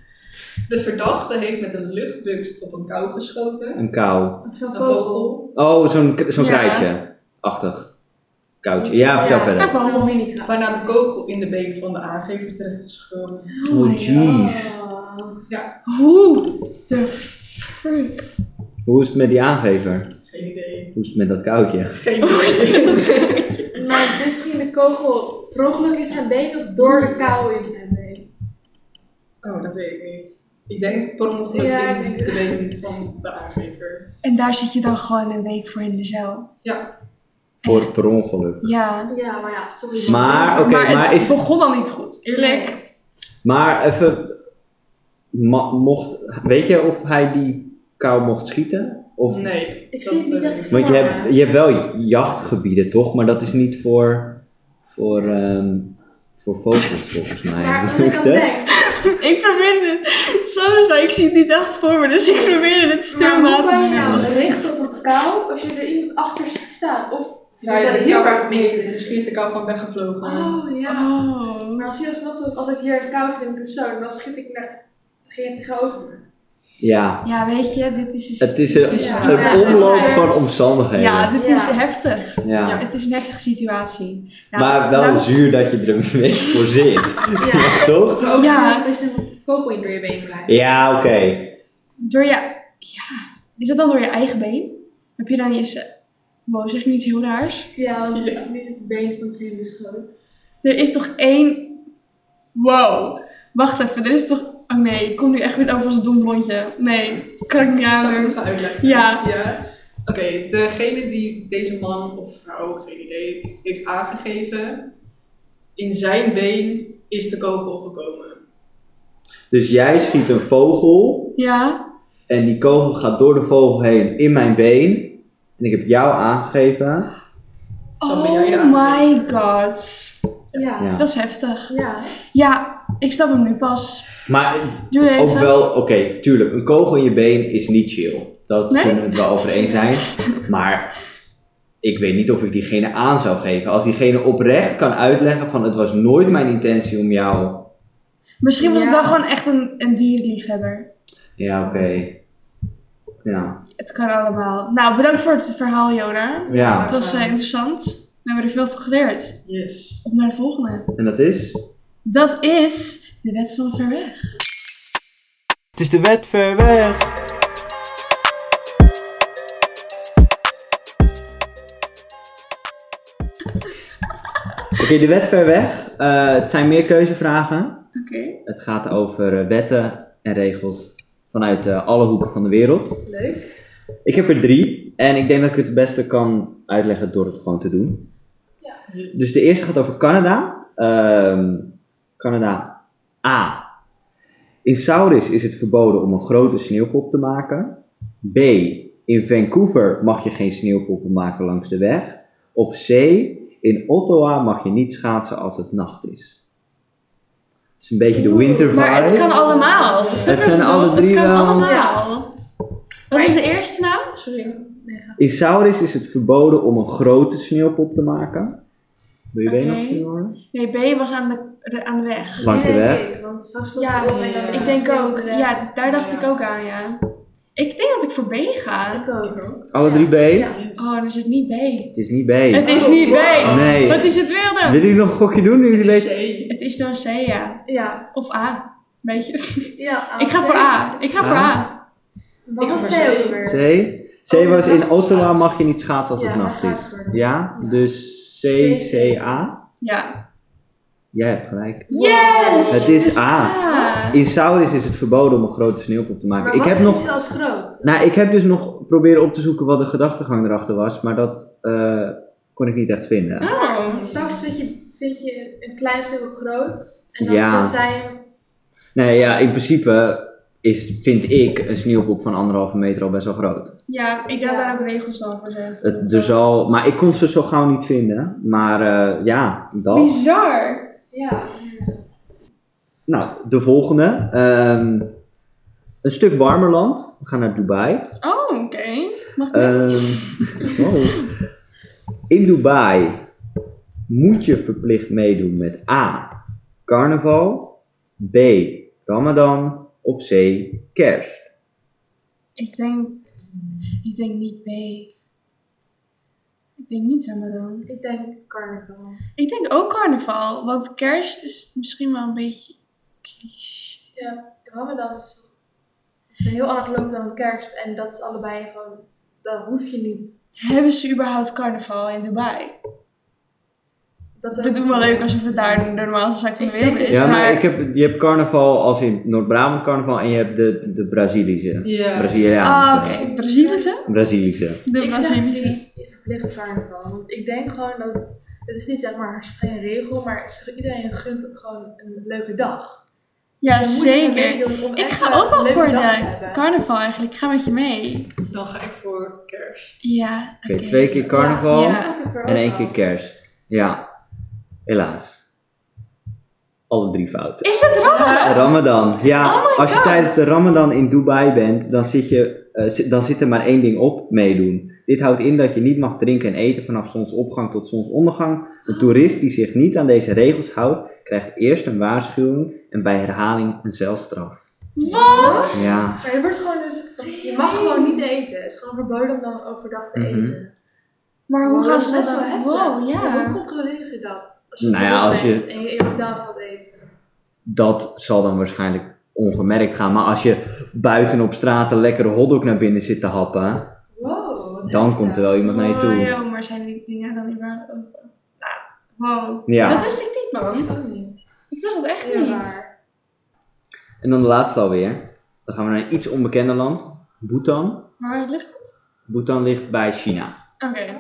[SPEAKER 4] De verdachte heeft met een luchtbuks op een kou geschoten,
[SPEAKER 2] Een kou.
[SPEAKER 1] Zo'n
[SPEAKER 4] een
[SPEAKER 1] vogel.
[SPEAKER 4] vogel,
[SPEAKER 2] Oh, zo'n k- zo'n
[SPEAKER 3] Ja.
[SPEAKER 2] kruidje. Achtig. Koudje. Ja, vertel
[SPEAKER 1] Ja.
[SPEAKER 2] verder.
[SPEAKER 3] Vogel.
[SPEAKER 1] Zo'n mini
[SPEAKER 4] waarna de kogel in de been van de aangever terecht is gekomen.
[SPEAKER 2] Oh,
[SPEAKER 3] my
[SPEAKER 2] jeez.
[SPEAKER 1] Ah.
[SPEAKER 3] Hoe de freak?
[SPEAKER 2] Hoe is het met die aangever?
[SPEAKER 4] Geen idee.
[SPEAKER 2] Hoe is het met dat koudje?
[SPEAKER 4] Geen
[SPEAKER 3] Hoe is
[SPEAKER 4] idee.
[SPEAKER 1] Maar dus ging de kogel per ongeluk in zijn been of door de kou in zijn been?
[SPEAKER 4] Oh, dat weet ik niet. Ik denk per ongeluk
[SPEAKER 1] Ja,
[SPEAKER 4] in
[SPEAKER 1] ik
[SPEAKER 4] de
[SPEAKER 1] denk-
[SPEAKER 4] been van de aangever.
[SPEAKER 3] En daar zit je dan gewoon een week voor in de cel.
[SPEAKER 4] Ja,
[SPEAKER 2] Voor het per ongeluk.
[SPEAKER 3] Ja.
[SPEAKER 1] Ja, maar ja, sorry.
[SPEAKER 2] Maar, oké,
[SPEAKER 3] maar,
[SPEAKER 2] maar
[SPEAKER 3] het
[SPEAKER 2] is-
[SPEAKER 3] begon al niet goed, eerlijk.
[SPEAKER 2] Maar even, ma- mocht, weet je of hij die kou mocht schieten? Of,
[SPEAKER 4] nee.
[SPEAKER 1] Ik
[SPEAKER 4] dat
[SPEAKER 1] zie het niet
[SPEAKER 4] weet ik
[SPEAKER 1] echt voor
[SPEAKER 2] Want je
[SPEAKER 1] me.
[SPEAKER 2] hebt, je hebt wel jachtgebieden toch, maar dat is niet voor, voor, ehm, voor vogels volgens mij. [laughs]
[SPEAKER 1] Maar aan de andere kant
[SPEAKER 2] Hè?
[SPEAKER 1] denk ik,
[SPEAKER 3] Ik probeerde het, sorry, sorry, ik zie het niet echt voor me, dus ik probeerde het stil
[SPEAKER 1] maar
[SPEAKER 3] na
[SPEAKER 1] hoe
[SPEAKER 3] te
[SPEAKER 1] kan
[SPEAKER 3] doen.
[SPEAKER 1] je nou richten op een kou als je er iemand achter ziet staan? Of
[SPEAKER 4] Ja,
[SPEAKER 1] je
[SPEAKER 4] ja,
[SPEAKER 1] bent
[SPEAKER 4] ik
[SPEAKER 1] heel
[SPEAKER 4] jou
[SPEAKER 1] erg
[SPEAKER 4] ook mis.
[SPEAKER 1] mee.
[SPEAKER 4] Misschien is de kou gewoon weggevlogen.
[SPEAKER 1] Oh ja.
[SPEAKER 3] Oh.
[SPEAKER 1] Maar als je alsnog doet, als ik hier een kou zit in een persoon, dan schiet ik naar degene tegenover me.
[SPEAKER 2] Ja,
[SPEAKER 3] Ja, weet je, dit is...
[SPEAKER 2] het is een,
[SPEAKER 3] dit
[SPEAKER 1] Ja.
[SPEAKER 2] een
[SPEAKER 1] Ja,
[SPEAKER 3] dit is
[SPEAKER 2] omloop
[SPEAKER 3] echt-
[SPEAKER 2] van omstandigheden.
[SPEAKER 3] Ja, dit is
[SPEAKER 1] Ja.
[SPEAKER 3] heftig.
[SPEAKER 2] Ja.
[SPEAKER 3] Ja, Het is een heftige situatie. Nou,
[SPEAKER 2] Maar wel
[SPEAKER 3] nou,
[SPEAKER 2] zuur dat je er een week voor zit,
[SPEAKER 1] Ja.
[SPEAKER 2] [laughs] toch?
[SPEAKER 1] Maar ook
[SPEAKER 3] Ja.
[SPEAKER 1] ja. als je een kogel in door je been krijgt.
[SPEAKER 2] Ja, oké.
[SPEAKER 3] Door je... Ja. Is dat dan door je eigen been? Heb je dan je... ze- Wow, zeg ik nu iets heel raars?
[SPEAKER 1] Ja, want het is niet het been van degene beschoten.
[SPEAKER 3] Er is toch één... Wow. Wacht even, er is toch... Oh nee, ik kom nu echt weer over als een dom blondje. Nee, kan ik niet
[SPEAKER 4] Zal ik het
[SPEAKER 3] aan.
[SPEAKER 4] even uitleggen?
[SPEAKER 3] Ja.
[SPEAKER 4] Oké, degene die deze man of vrouw, geen idee, heeft aangegeven, in zijn been is de kogel gekomen.
[SPEAKER 2] Dus jij schiet een vogel
[SPEAKER 3] Ja?
[SPEAKER 2] En die kogel gaat door de vogel heen in mijn been. En ik heb jou aangegeven.
[SPEAKER 4] Dan ben jij de
[SPEAKER 3] Oh my god.
[SPEAKER 1] Ja.
[SPEAKER 2] Ja.
[SPEAKER 3] Dat is heftig.
[SPEAKER 1] Ja.
[SPEAKER 3] Ja, ik snap hem nu pas.
[SPEAKER 2] Maar
[SPEAKER 3] Doe even.
[SPEAKER 2] ook wel, oké, tuurlijk, een kogel in je been is niet chill. Dat
[SPEAKER 3] Nee?
[SPEAKER 2] kunnen we het wel over eens zijn. Maar ik weet niet of ik diegene aan zou geven. Als diegene oprecht kan uitleggen van het was nooit mijn intentie om jou...
[SPEAKER 3] Misschien was het
[SPEAKER 1] Ja.
[SPEAKER 3] wel gewoon echt een, een dierenliefhebber.
[SPEAKER 2] Ja, oké. Ja.
[SPEAKER 3] Het kan allemaal. Nou, bedankt voor het verhaal, Jona.
[SPEAKER 2] ja,
[SPEAKER 3] Het was eh, interessant. We hebben er veel van geleerd.
[SPEAKER 4] Yes.
[SPEAKER 3] Op naar de volgende.
[SPEAKER 2] en dat is?
[SPEAKER 3] Dat is de wet van ver weg.
[SPEAKER 10] Het is de wet ver weg.
[SPEAKER 2] Oké, de wet ver weg. Eh, het zijn meer keuzevragen.
[SPEAKER 3] Oké.
[SPEAKER 2] Het gaat over eh, wetten en regels Vanuit eh, alle hoeken van de wereld.
[SPEAKER 1] Leuk.
[SPEAKER 2] Ik heb er drie. En ik denk dat ik het het beste kan uitleggen door het gewoon te doen. Dus de eerste gaat over Canada. Ehm, Canada A. In Saurus is het verboden om een grote sneeuwpop te maken. B. In Vancouver mag je geen sneeuwpoppen maken langs de weg. Of C. In Ottawa mag je niet schaatsen als het nacht is. Dat is een beetje de winter vibe.
[SPEAKER 3] Maar het kan allemaal. Snap je
[SPEAKER 2] Het
[SPEAKER 3] wat
[SPEAKER 2] zijn
[SPEAKER 3] ik bedoel?
[SPEAKER 2] alle drie
[SPEAKER 3] Het kan
[SPEAKER 2] wel-
[SPEAKER 3] allemaal. Wat is de eerste nou? Sorry.
[SPEAKER 1] Nee, ga-
[SPEAKER 2] In Saurus is het verboden om een grote sneeuwpop te maken. Wil je
[SPEAKER 3] Oké.
[SPEAKER 2] weet nog, Joris?
[SPEAKER 3] Nee, B was aan de, de, aan de weg.
[SPEAKER 2] Langs de
[SPEAKER 1] Nee,
[SPEAKER 2] weg.
[SPEAKER 1] nee, want straks wordt
[SPEAKER 3] Ja,
[SPEAKER 1] het wel weer een
[SPEAKER 3] ik denk ook.
[SPEAKER 1] sneeuwweg.
[SPEAKER 3] Ja, daar dacht
[SPEAKER 4] Ja.
[SPEAKER 3] ik ook aan, ja. Ik denk dat ik voor B ga.
[SPEAKER 1] Ik ook.
[SPEAKER 2] Alle
[SPEAKER 1] Ja.
[SPEAKER 2] drie B?
[SPEAKER 1] Ja.
[SPEAKER 3] Oh, dan is het niet B.
[SPEAKER 2] Het is niet B.
[SPEAKER 3] Het is niet B.
[SPEAKER 2] Oh, Nee.
[SPEAKER 3] Wat is het wilde?
[SPEAKER 2] Willen jullie nog een gokje doen? Nu jullie
[SPEAKER 4] Het is
[SPEAKER 2] weten?
[SPEAKER 4] C.
[SPEAKER 3] Het is dan C, ja.
[SPEAKER 1] Ja.
[SPEAKER 3] Of A. Weet [laughs] je.
[SPEAKER 1] ja ah,
[SPEAKER 3] Ik ga voor A. Ik ga voor A.
[SPEAKER 1] Wat
[SPEAKER 4] Ik
[SPEAKER 1] was
[SPEAKER 4] ga voor
[SPEAKER 1] C
[SPEAKER 4] C.
[SPEAKER 1] ook weer?
[SPEAKER 2] C. C
[SPEAKER 1] Oh,
[SPEAKER 2] was in
[SPEAKER 1] nacht
[SPEAKER 2] Ottawa
[SPEAKER 1] schaatsen.
[SPEAKER 2] mag je niet schaatsen als
[SPEAKER 1] Ja,
[SPEAKER 2] het nacht
[SPEAKER 1] daar ga ik
[SPEAKER 2] is.
[SPEAKER 1] voor.
[SPEAKER 2] Ja,
[SPEAKER 1] Ja.
[SPEAKER 2] dus C,
[SPEAKER 1] C,
[SPEAKER 2] C, A.
[SPEAKER 3] Ja.
[SPEAKER 2] Jij hebt gelijk.
[SPEAKER 3] Yes!
[SPEAKER 2] Het is A.
[SPEAKER 3] A.
[SPEAKER 2] In Saurus is het verboden om een grote sneeuwpop te maken.
[SPEAKER 1] Maar
[SPEAKER 2] Ik
[SPEAKER 1] wat
[SPEAKER 2] heb
[SPEAKER 1] is
[SPEAKER 2] nog,
[SPEAKER 1] nog... als groot?
[SPEAKER 2] nou, ik heb dus nog proberen op te zoeken wat de gedachtegang erachter was, maar dat eh, kon ik niet echt vinden.
[SPEAKER 3] Oh.
[SPEAKER 1] Want straks vind je, vind je een klein stuk groot. En dan
[SPEAKER 2] Ja.
[SPEAKER 1] vindt zij hem
[SPEAKER 2] Nee, ja, in principe is, vind ik een sneeuwpop van anderhalve meter al best wel groot.
[SPEAKER 3] Ja, ik laat daar ook regels dan voor zeggen.
[SPEAKER 2] Het, dus al, maar ik kon ze zo gauw niet vinden. Maar eh, ja, dat.
[SPEAKER 3] Bizar.
[SPEAKER 1] Ja.
[SPEAKER 2] Nou, de volgende. Ehm, een stuk warmer land. We gaan naar Dubai.
[SPEAKER 3] Oh, oké. Mag ik
[SPEAKER 2] Ehm, wow. In Dubai moet je verplicht meedoen met A. Carnaval. B. Ramadan. Of C. Kerst.
[SPEAKER 3] Ik denk, ik denk niet B. Ik denk niet Ramadan.
[SPEAKER 1] Ik denk carnaval.
[SPEAKER 3] Ik denk ook carnaval, want kerst is misschien wel een beetje cliché.
[SPEAKER 1] Ja, Ramadan is, toch- is een heel ander geloof dan kerst. En dat is allebei gewoon... Dat hoef je niet.
[SPEAKER 3] Hebben ze überhaupt carnaval in Dubai?
[SPEAKER 1] Dat is
[SPEAKER 3] We doen wel leuk alsof het daar de normaalste zaak van de
[SPEAKER 1] Ik denk
[SPEAKER 3] wereld is.
[SPEAKER 2] Ja, maar
[SPEAKER 3] maar
[SPEAKER 2] ik heb, je hebt carnaval als in Noord-Brabant carnaval en je hebt de, de Brazilische.
[SPEAKER 4] Ja.
[SPEAKER 2] Braziliaanse.
[SPEAKER 3] Ah, oké. Brazilische?
[SPEAKER 2] Brazilische.
[SPEAKER 3] De
[SPEAKER 1] Ik zeg
[SPEAKER 3] Brazilische.
[SPEAKER 1] die verplicht carnaval. Want ik denk gewoon dat... het- Het is niet zeg maar een strenge regel, maar ze- iedereen gunt het gewoon een leuke dag.
[SPEAKER 3] Ja,
[SPEAKER 1] Dus je moet even
[SPEAKER 3] zeker.
[SPEAKER 1] meedoen om
[SPEAKER 3] Ik
[SPEAKER 1] echt
[SPEAKER 3] ga
[SPEAKER 1] een
[SPEAKER 3] ook wel
[SPEAKER 1] leuke
[SPEAKER 3] voor
[SPEAKER 1] dag te
[SPEAKER 3] de
[SPEAKER 1] hebben.
[SPEAKER 3] carnaval eigenlijk. Ik ga met je mee.
[SPEAKER 4] Dan ga ik voor kerst.
[SPEAKER 3] Ja,
[SPEAKER 2] Oké, twee keer carnaval
[SPEAKER 3] Ja.
[SPEAKER 1] dat snap ik er
[SPEAKER 2] en
[SPEAKER 1] ook
[SPEAKER 2] één
[SPEAKER 1] wel.
[SPEAKER 2] keer kerst. Ja, helaas. Alle drie fouten.
[SPEAKER 3] Is het raar?
[SPEAKER 2] Ramadan. Ja,
[SPEAKER 3] Oh my
[SPEAKER 2] als je
[SPEAKER 3] God.
[SPEAKER 2] tijdens de Ramadan in Dubai bent, dan zit, je, eh, zit- dan zit er maar één ding op: meedoen. Dit houdt in dat je niet mag drinken en eten vanaf zonsopgang tot zonsondergang. Een toerist die zich niet aan deze regels houdt, krijgt eerst een waarschuwing en bij herhaling een celstraf.
[SPEAKER 3] Wat?
[SPEAKER 2] Ja.
[SPEAKER 1] Maar je wordt gewoon dus... Je mag gewoon niet eten. Het is gewoon verboden om dan overdag te
[SPEAKER 2] Mhm.
[SPEAKER 1] eten.
[SPEAKER 3] Maar hoe
[SPEAKER 1] Wow,
[SPEAKER 3] gaan
[SPEAKER 1] dat is
[SPEAKER 3] ze dat
[SPEAKER 1] best wel
[SPEAKER 3] dan?
[SPEAKER 1] heftig.
[SPEAKER 3] Wow,
[SPEAKER 1] Hoe
[SPEAKER 3] ja.
[SPEAKER 1] controleren ze dat? Als je
[SPEAKER 2] Nou
[SPEAKER 1] nou
[SPEAKER 2] ja, als je-
[SPEAKER 1] bent en je in je hotel valt eten.
[SPEAKER 2] dat zal dan waarschijnlijk ongemerkt gaan. Maar als je buiten op straat een lekkere hotdog naar binnen zit te happen,
[SPEAKER 1] Wow, wat
[SPEAKER 2] dan
[SPEAKER 1] heftig.
[SPEAKER 2] komt er wel iemand naar je
[SPEAKER 3] Oh,
[SPEAKER 2] toe.
[SPEAKER 3] joh, maar zijn die dingen dan überhaupt open? Nou, wow. Dat
[SPEAKER 2] Ja.
[SPEAKER 3] wist ik niet, man.
[SPEAKER 1] Ik ook niet.
[SPEAKER 3] Ik wist dat echt
[SPEAKER 1] Heel
[SPEAKER 3] niet.
[SPEAKER 1] raar.
[SPEAKER 2] En dan de laatste alweer. Dan gaan we naar een iets onbekender land. Bhutan.
[SPEAKER 3] Maar waar ligt het?
[SPEAKER 2] Bhutan ligt bij China.
[SPEAKER 3] Oké.
[SPEAKER 1] Ah,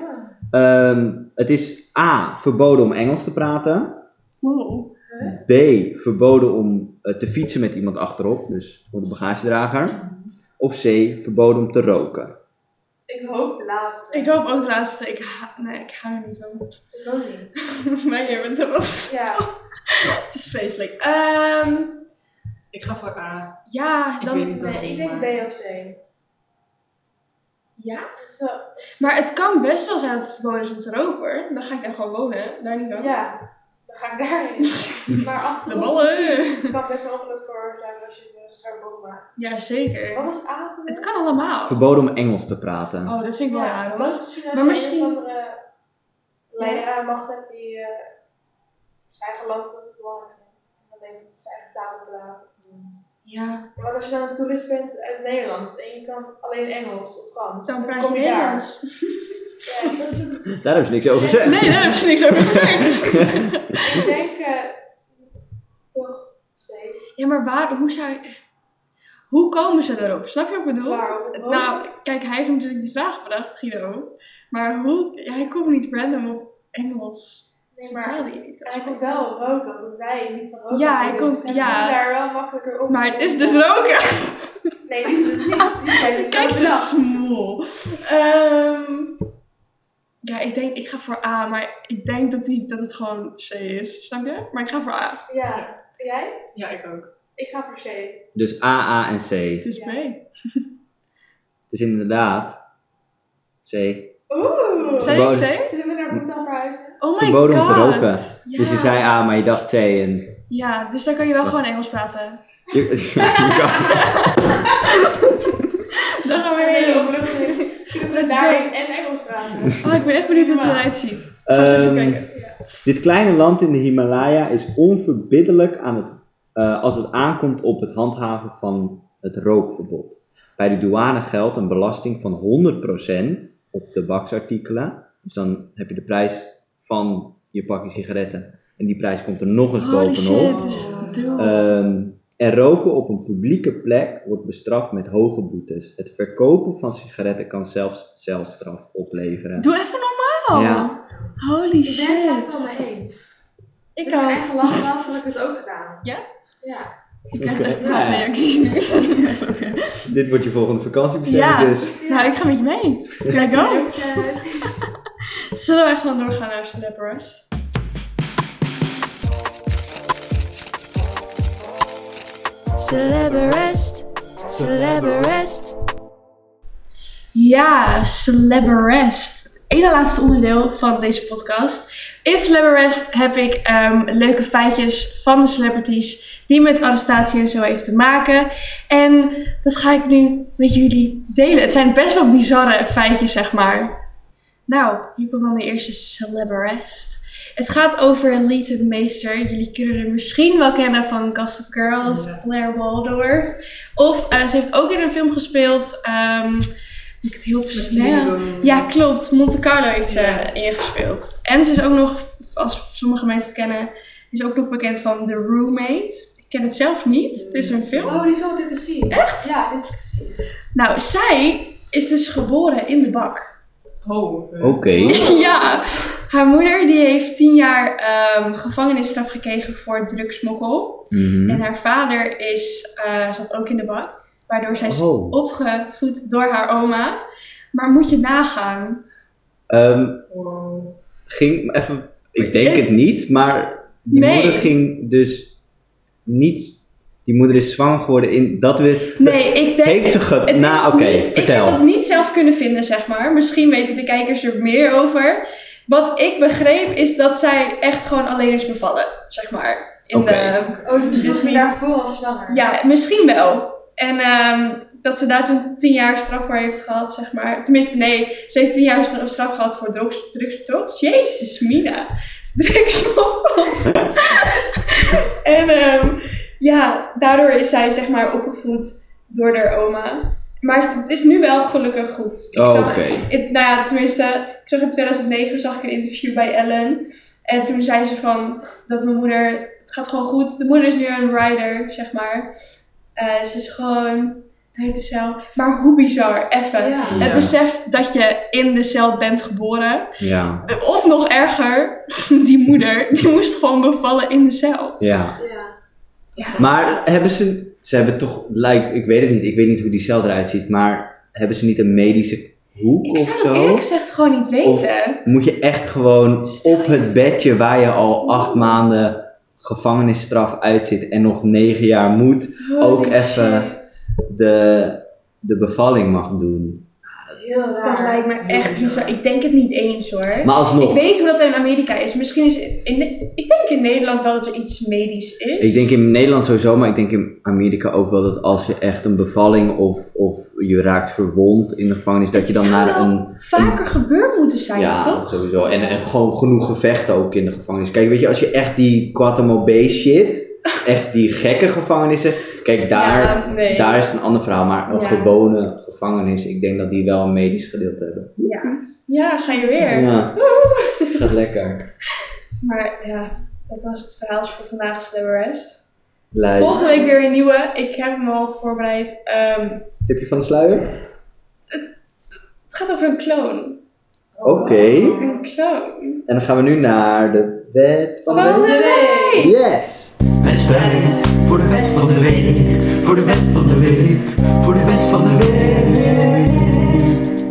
[SPEAKER 2] Ehm, het is A. Verboden om Engels te praten.
[SPEAKER 3] Wow.
[SPEAKER 2] B. Verboden om eh, te fietsen met iemand achterop. Dus voor de bagagedrager. Of C. Verboden om te roken.
[SPEAKER 1] Ik hoop de laatste.
[SPEAKER 3] Ik hoop ook de laatste. Ik ha- nee, ik hou er niet van. [laughs]
[SPEAKER 1] Ik ook niet.
[SPEAKER 3] maar jij bent er wat.
[SPEAKER 1] Ja,
[SPEAKER 3] Het is vreselijk. Ehm
[SPEAKER 4] Ik ga voor A.
[SPEAKER 3] ja,
[SPEAKER 4] Ik
[SPEAKER 3] dan...
[SPEAKER 4] weet niet waarom.
[SPEAKER 1] ik denk B of C.
[SPEAKER 3] Ja?
[SPEAKER 1] Zo,
[SPEAKER 3] Maar het kan best wel zijn dat het verboden is om te roken, hoor. Dan ga ik daar gewoon wonen. Daar niet wel.
[SPEAKER 1] ja, dan ga ik daarin.
[SPEAKER 3] [laughs]
[SPEAKER 1] maar
[SPEAKER 3] De
[SPEAKER 1] achterop,
[SPEAKER 3] ballen. [laughs]
[SPEAKER 1] het kan best wel ongeluk voor zijn als je een scherp maakt.
[SPEAKER 3] Ja, zeker.
[SPEAKER 1] Wat was A? toen?
[SPEAKER 3] Het kan allemaal.
[SPEAKER 2] Verboden om Engels te praten.
[SPEAKER 3] Oh, dat vind ik wel raar, hoor.
[SPEAKER 1] Wat als je nou
[SPEAKER 3] Maar
[SPEAKER 1] zo'n
[SPEAKER 3] misschien-
[SPEAKER 1] een of andere leider aan de macht hebt die eh, zijn eigen land dat het belangrijk vindt. En dan denk ik dat zijn eigen taal praten.
[SPEAKER 3] Ja,
[SPEAKER 1] Maar als je dan een toerist bent uit Nederland en je kan alleen Engels of Frans,
[SPEAKER 3] dan praat je
[SPEAKER 1] kom daar.
[SPEAKER 3] Nederlands.
[SPEAKER 1] [laughs] Ja, dat is een-
[SPEAKER 2] Daar hebben ze niks over gezegd.
[SPEAKER 3] Nee, daar heb je niks
[SPEAKER 4] [laughs]
[SPEAKER 3] over gezegd.
[SPEAKER 1] ik denk eh, toch C.
[SPEAKER 3] ja, maar waar, hoe zou je... hoe komen ze erop? Snap je wat ik bedoel?
[SPEAKER 1] Waarom?
[SPEAKER 3] Nou, kijk, hij heeft natuurlijk die vraag bedacht, Guido. Maar hoe... Ja, hij komt niet random op Engels.
[SPEAKER 1] Nee,
[SPEAKER 3] Vertaalde
[SPEAKER 1] maar
[SPEAKER 3] je niet,
[SPEAKER 1] hij komt wel op roken, omdat wij niet van roken
[SPEAKER 3] Ja, hij
[SPEAKER 1] houden, dus
[SPEAKER 3] komt- ja.
[SPEAKER 1] komt daar wel makkelijker op.
[SPEAKER 3] Maar het is dus roken.
[SPEAKER 1] Nee, dit is dus niet.
[SPEAKER 3] [laughs]
[SPEAKER 1] Die zijn dus
[SPEAKER 3] Kijk,
[SPEAKER 1] zo
[SPEAKER 3] ze
[SPEAKER 1] bedacht.
[SPEAKER 3] smol. Ehm, ja, ik denk, ik ga voor A, maar ik denk dat, die, dat het gewoon C is. Snap je? Maar ik ga voor A.
[SPEAKER 1] Ja. En Jij?
[SPEAKER 4] Ja, ik ook.
[SPEAKER 1] Ik ga voor C.
[SPEAKER 2] [laughs] Dus A, A en C.
[SPEAKER 3] Het is
[SPEAKER 1] Ja.
[SPEAKER 3] B.
[SPEAKER 2] Het is inderdaad C.
[SPEAKER 1] Oeh!
[SPEAKER 3] Zei ik
[SPEAKER 2] Verboden.
[SPEAKER 3] C?
[SPEAKER 1] Zullen we naar Boetan verhuizen?
[SPEAKER 3] Oh my
[SPEAKER 2] Verboden om
[SPEAKER 3] god.
[SPEAKER 2] te roken.
[SPEAKER 3] Ja.
[SPEAKER 2] Dus je zei A, maar je dacht C. En...
[SPEAKER 3] Ja, dus dan kan je wel gewoon Engels
[SPEAKER 1] [laughs]
[SPEAKER 3] praten.
[SPEAKER 2] Je, je-
[SPEAKER 3] Dan gaan we
[SPEAKER 1] Nee,
[SPEAKER 3] heen.
[SPEAKER 1] opluchting. Kunnen we
[SPEAKER 3] Let's
[SPEAKER 1] daarin en Engels praten?
[SPEAKER 3] Oh, ik ben echt benieuwd hoe het eruit ziet. Gaan we straks even
[SPEAKER 2] Ehm,
[SPEAKER 3] kijken.
[SPEAKER 2] [laughs] dit kleine land in de Himalaya is onverbiddelijk aan het, eh, als het aankomt op het handhaven van het rookverbod. Bij de douane geldt een belasting van 100% op tabaksartikelen. Dus dan heb je de prijs van je pakje sigaretten. En die prijs komt er nog eens
[SPEAKER 3] Holy
[SPEAKER 2] bovenop.
[SPEAKER 3] shit, dit is duw.
[SPEAKER 2] Ehm, en roken op een publieke plek wordt bestraft met hoge boetes. Het verkopen van sigaretten kan zelfs celstraf opleveren.
[SPEAKER 3] Doe even normaal.
[SPEAKER 2] Ja.
[SPEAKER 3] Holy
[SPEAKER 1] Ik ben het vaak wel
[SPEAKER 3] shit.
[SPEAKER 1] mee eens.
[SPEAKER 3] Ik
[SPEAKER 1] Toen mijn
[SPEAKER 3] ook.
[SPEAKER 1] eigen land had, had ik het ook gedaan.
[SPEAKER 3] Ja?
[SPEAKER 1] Ja.
[SPEAKER 3] Ik krijg echt
[SPEAKER 2] Oké. Nou ja,
[SPEAKER 3] haatreacties
[SPEAKER 1] [laughs]
[SPEAKER 3] nu.
[SPEAKER 2] Dit wordt je volgende vakantiebestelling
[SPEAKER 3] Ja.
[SPEAKER 2] dus.
[SPEAKER 3] Nou, ik ga met je mee. Let's go.
[SPEAKER 1] Bedankt, eh, Tim.
[SPEAKER 3] Zullen wij gewoon doorgaan naar Celeb Arrest? Ja, Celeb Arrest. Het ene laatste onderdeel van deze podcast. In Celeb Arrest heb ik ehm, leuke feitjes van de celebrities die met arrestatie en zo heeft te maken. En dat ga ik nu met jullie delen. Het zijn best wel bizarre feitjes, zeg maar. Nou, hier komt dan de eerste celebrest. Het gaat over Leighton Meester. Jullie kunnen er misschien wel kennen van Gossip Girls, Blair Waldorf. Of eh, ze heeft ook in een film gespeeld. ehm, moet ik het heel versnellen? Ja, klopt. Monte Carlo heeft ze ingespeeld. En ze is ook nog, als sommige mensen het kennen, is ook nog bekend van The Roommate. Ik ken het zelf niet. Het is een film.
[SPEAKER 1] Oh, die film heb ik gezien. Echt? Ja, dit heb ik gezien.
[SPEAKER 3] Nou, zij is dus geboren in de bak. [laughs]
[SPEAKER 4] Oh, eh,
[SPEAKER 2] Oké.
[SPEAKER 3] ja, haar moeder die heeft tien jaar ehm, gevangenisstraf gekregen voor drugsmokkel.
[SPEAKER 2] Mhm.
[SPEAKER 3] En haar vader is, eh, zat ook in de bak. Waardoor zij is
[SPEAKER 2] Oh.
[SPEAKER 3] opgevoed door haar oma. Maar moet je nagaan.
[SPEAKER 2] Ehm,
[SPEAKER 4] wow.
[SPEAKER 2] ging even, ik denk het niet, maar die
[SPEAKER 3] Nee.
[SPEAKER 2] moeder ging dus niet. Die moeder is zwanger geworden in dat we.
[SPEAKER 3] Nee, ik denk...
[SPEAKER 2] Heeft ze ge...
[SPEAKER 3] Het is
[SPEAKER 2] Nou, oké,
[SPEAKER 3] niet- ik heb
[SPEAKER 2] vertel.
[SPEAKER 3] dat niet zelf kunnen vinden, zeg maar. Misschien weten de kijkers er meer over. Wat ik begreep is dat zij echt gewoon alleen is bevallen, zeg maar. In
[SPEAKER 2] Oké.
[SPEAKER 3] de
[SPEAKER 1] Oh, dus misschien
[SPEAKER 3] Dus
[SPEAKER 1] was ze
[SPEAKER 3] niet-
[SPEAKER 1] daarvoor al zwanger.
[SPEAKER 3] Ja, misschien wel. En ehm, dat ze daar toen tien jaar straf voor heeft gehad, zeg maar. Tenminste, nee, ze heeft tien jaar stra- straf gehad voor drugs, drugs, drugs. Jezus, Mina. [laughs] Drugsmokkel. en ehm, ja, daardoor is zij, zeg maar, opgevoed door haar oma. Maar het is nu wel gelukkig goed. Ik
[SPEAKER 2] Oh,
[SPEAKER 3] zag-
[SPEAKER 2] Oké.
[SPEAKER 3] ik- nou ja, tenminste, ik zag in 2009 zag ik een interview bij Ellen. En toen zei ze van dat mijn moeder, het gaat gewoon goed. De moeder is nu een rider, zeg maar. Eh, ze is gewoon uit de cel. Maar hoe bizar, even.
[SPEAKER 1] Ja.
[SPEAKER 2] Ja.
[SPEAKER 3] Het besef dat je in de cel bent geboren.
[SPEAKER 2] Ja.
[SPEAKER 3] Eh, Of nog erger, [laughs] die moeder, die moest gewoon bevallen in de cel.
[SPEAKER 2] Ja.
[SPEAKER 1] Ja.
[SPEAKER 2] Maar hebben ze, ze hebben toch, like, ik weet het niet, ik weet niet hoe die cel eruit ziet, maar hebben ze niet een medische hoek
[SPEAKER 3] Ik
[SPEAKER 2] of
[SPEAKER 3] zou
[SPEAKER 2] zo?
[SPEAKER 3] dat eerlijk gezegd gewoon niet weten.
[SPEAKER 2] Moet je echt gewoon
[SPEAKER 3] Stel
[SPEAKER 2] op
[SPEAKER 3] je-
[SPEAKER 2] het bedje waar je al acht maanden gevangenisstraf uit zit en nog negen jaar moet, ook
[SPEAKER 3] Holy
[SPEAKER 2] even
[SPEAKER 3] shit.
[SPEAKER 2] de, de bevalling mag doen?
[SPEAKER 1] Heel raar.
[SPEAKER 3] Dat lijkt me echt bizar. Ik denk het niet eens hoor.
[SPEAKER 2] Maar alsnog,
[SPEAKER 3] Ik weet hoe dat in Amerika is. Misschien is in, ik denk in Nederland wel dat er iets medisch is.
[SPEAKER 2] ik denk in Nederland sowieso, maar ik denk in Amerika ook wel dat als je echt een bevalling of, of je raakt verwond in de gevangenis, dat je dan
[SPEAKER 3] Het zou
[SPEAKER 2] naar
[SPEAKER 3] wel
[SPEAKER 2] een
[SPEAKER 3] vaker gebeurd moeten zijn, toch?
[SPEAKER 2] sowieso. En, en gewoon genoeg gevechten ook in de gevangenis. Kijk, weet je, als je echt die Guantanamo Bay
[SPEAKER 3] [laughs]
[SPEAKER 2] shit, echt die gekke gevangenissen. Kijk, daar,
[SPEAKER 3] Ja, nee.
[SPEAKER 2] daar is het een ander verhaal. Maar een
[SPEAKER 3] Ja.
[SPEAKER 2] gewone gevangenis, ik denk dat die wel een medisch gedeelte hebben.
[SPEAKER 3] Ja. ja, ga je weer. [laughs]
[SPEAKER 2] Ja, gaat lekker.
[SPEAKER 3] Maar ja, dat was het verhaal voor vandaag, Slabberest.
[SPEAKER 2] Leiden.
[SPEAKER 3] dus Volgende week weer een nieuwe. Ik heb hem al voorbereid. Ehm,
[SPEAKER 2] Tipje van de sluier?
[SPEAKER 3] het gaat over een kloon.
[SPEAKER 2] Oké.
[SPEAKER 3] Een kloon.
[SPEAKER 2] En dan gaan we nu naar de wet van
[SPEAKER 3] Van
[SPEAKER 2] de
[SPEAKER 3] de week!
[SPEAKER 2] week. Yes!
[SPEAKER 7] Wij strijden voor de wet van de week. Voor de wet van de week. Voor de wet van de week.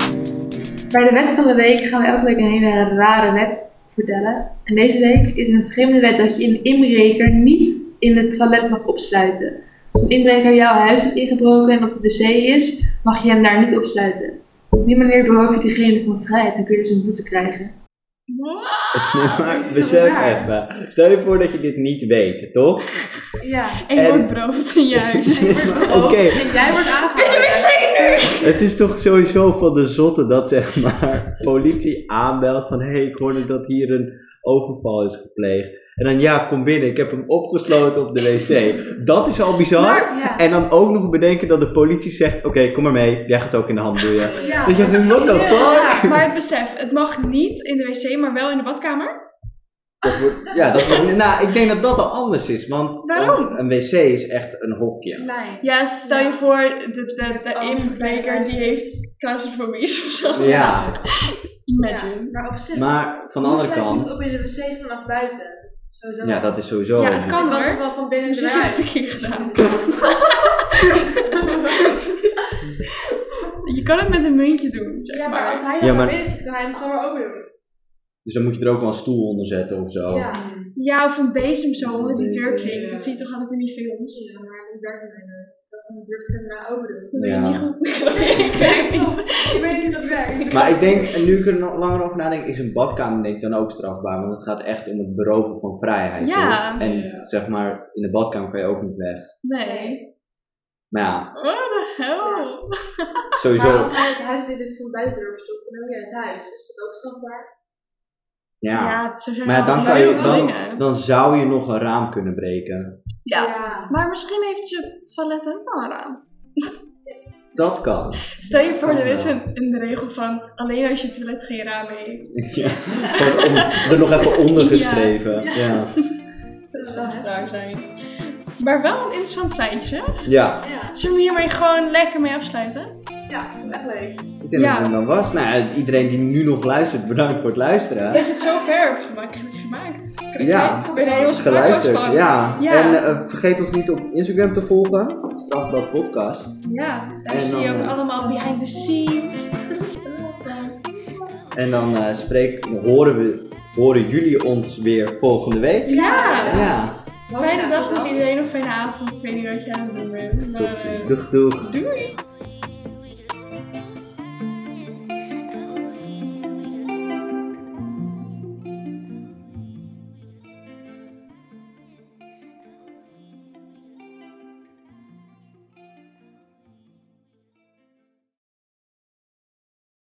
[SPEAKER 1] Bij de wet van de week gaan we elke week een hele rare wet vertellen. En deze week is een vreemde wet dat je een inbreker niet in het toilet mag opsluiten. Als een inbreker jouw huis heeft ingebroken en op de wc is, mag je hem daar niet opsluiten. Op die manier beroof je diegene van vrijheid en kun je dus een boete krijgen.
[SPEAKER 2] [laughs] Nee,
[SPEAKER 3] Ah,
[SPEAKER 2] maar
[SPEAKER 1] is
[SPEAKER 2] besef
[SPEAKER 1] zo
[SPEAKER 2] even. Stel je voor dat je dit niet weet, toch?
[SPEAKER 1] Ja.
[SPEAKER 3] En
[SPEAKER 2] En-
[SPEAKER 3] wordt brood in je huis.
[SPEAKER 2] [laughs] Oké,
[SPEAKER 1] En jij wordt aangehouden.
[SPEAKER 2] het is toch sowieso van de zotte dat zeg [laughs] maar politie aanbelt van hé, hey, ik hoorde dat hier een overval is gepleegd. En dan ja, kom binnen, ik heb hem opgesloten op de wc. Dat is al bizar.
[SPEAKER 1] Ja.
[SPEAKER 2] En dan ook nog bedenken dat de politie zegt: Oké, kom maar mee, jij gaat ook in de hand doen. [laughs] Ja.
[SPEAKER 1] Ja.
[SPEAKER 2] Dat je denkt: What the fuck?
[SPEAKER 3] Ja, maar het besef, het mag niet in de wc, maar wel in de badkamer.
[SPEAKER 2] Dat wordt, ja, dat wordt, nou, ik denk dat dat al anders is, want
[SPEAKER 3] Waarom?
[SPEAKER 2] Een, een wc is echt een hokje.
[SPEAKER 1] Klein.
[SPEAKER 3] Ja, stel je
[SPEAKER 1] Ja.
[SPEAKER 3] voor, de, de, de
[SPEAKER 1] alles
[SPEAKER 3] inbreker die heeft claustrofobie [laughs] of zo.
[SPEAKER 2] Ja,
[SPEAKER 3] Imagine.
[SPEAKER 1] Ja, maar op zich.
[SPEAKER 2] maar van de andere kant,
[SPEAKER 1] op in de wc vanaf buiten. Sowieso.
[SPEAKER 2] ja, dat is sowieso.
[SPEAKER 3] Ja, het
[SPEAKER 2] een-
[SPEAKER 3] kan
[SPEAKER 1] kan
[SPEAKER 3] hoor.
[SPEAKER 1] toch wel van binnen
[SPEAKER 3] Mijn zus heeft
[SPEAKER 1] eruit.
[SPEAKER 3] het een keer gedaan. Je kan het met een muntje doen, zeg
[SPEAKER 1] Ja,
[SPEAKER 3] maar.
[SPEAKER 1] maar als hij
[SPEAKER 2] Ja,
[SPEAKER 1] dan
[SPEAKER 2] maar-
[SPEAKER 1] naar binnen zit, kan hij hem gewoon weer open doen.
[SPEAKER 2] Dus dan moet je er ook wel een stoel onder zetten of zo.
[SPEAKER 1] Ja.
[SPEAKER 3] Ja, of een bezem zo onder die deurklink. Dat zie je toch altijd in die films?
[SPEAKER 1] Ja, maar dat werkt mij nooit. Dan durf ik hem naar open doen.
[SPEAKER 3] Dat weet je
[SPEAKER 2] Ja.
[SPEAKER 3] niet goed. [laughs] ik weet het niet.
[SPEAKER 1] Ik weet niet hoe dat werkt.
[SPEAKER 2] Maar ik denk, en nu ik er nog langer over nadenk, is een badkamer denk ik dan ook strafbaar. Want het gaat echt om het beroven van vrijheid.
[SPEAKER 3] Ja.
[SPEAKER 2] toch? En zeg maar, in de badkamer kan je ook niet weg.
[SPEAKER 3] Nee.
[SPEAKER 2] Maar ja,
[SPEAKER 3] What the hell?
[SPEAKER 2] sowieso.
[SPEAKER 1] Maar als hij het huis in de van buiten durft stopt, dan ben je het huis. Is dat ook strafbaar?
[SPEAKER 2] ja.
[SPEAKER 3] Ja, zo zijn
[SPEAKER 2] Maar ja,
[SPEAKER 3] wel
[SPEAKER 2] dan, kan je,
[SPEAKER 3] heel veel
[SPEAKER 2] dan,
[SPEAKER 3] dingen.
[SPEAKER 2] dan zou je nog een raam kunnen breken.
[SPEAKER 3] Ja. Maar misschien heeft je toilet ook wel een raam.
[SPEAKER 2] Dat kan.
[SPEAKER 3] Stel je voor,
[SPEAKER 2] Kan
[SPEAKER 3] er is
[SPEAKER 2] wel.
[SPEAKER 3] een, een regel van alleen als je toilet geen raam heeft.
[SPEAKER 2] Ja. Gewoon om- er nog even onder geschreven. Ja. Ja.
[SPEAKER 3] Dat zou echt raar zijn. Maar wel een interessant feitje.
[SPEAKER 1] Ja.
[SPEAKER 3] Zullen we hiermee gewoon lekker mee afsluiten?
[SPEAKER 1] Ja, ik vind het echt leuk.
[SPEAKER 2] ik denk
[SPEAKER 3] Ja.
[SPEAKER 2] dat het dan was. Nou, ja, iedereen die nu nog luistert, bedankt voor het luisteren.
[SPEAKER 3] Je hebt het zo ver gemaakt. Ik heb het gemaakt. Ik
[SPEAKER 2] Ja.
[SPEAKER 3] ben er heel sprakeloos
[SPEAKER 2] Geluisterd,
[SPEAKER 3] van.
[SPEAKER 2] ja.
[SPEAKER 3] Ja.
[SPEAKER 2] En eh, vergeet ons niet op Instagram te volgen. Strafblad podcast.
[SPEAKER 3] Ja, daar
[SPEAKER 2] En
[SPEAKER 3] zie je
[SPEAKER 2] dan-
[SPEAKER 3] ook allemaal behind the scenes.
[SPEAKER 2] En dan eh, spreek, horen, we, horen jullie ons weer volgende week.
[SPEAKER 3] Ja.
[SPEAKER 2] Ja.
[SPEAKER 3] Fijne dag nog iedereen of fijne avond. Ik weet niet wat je aan het doen bent. Maar, eh,
[SPEAKER 2] Doeg, doeg.
[SPEAKER 3] doei.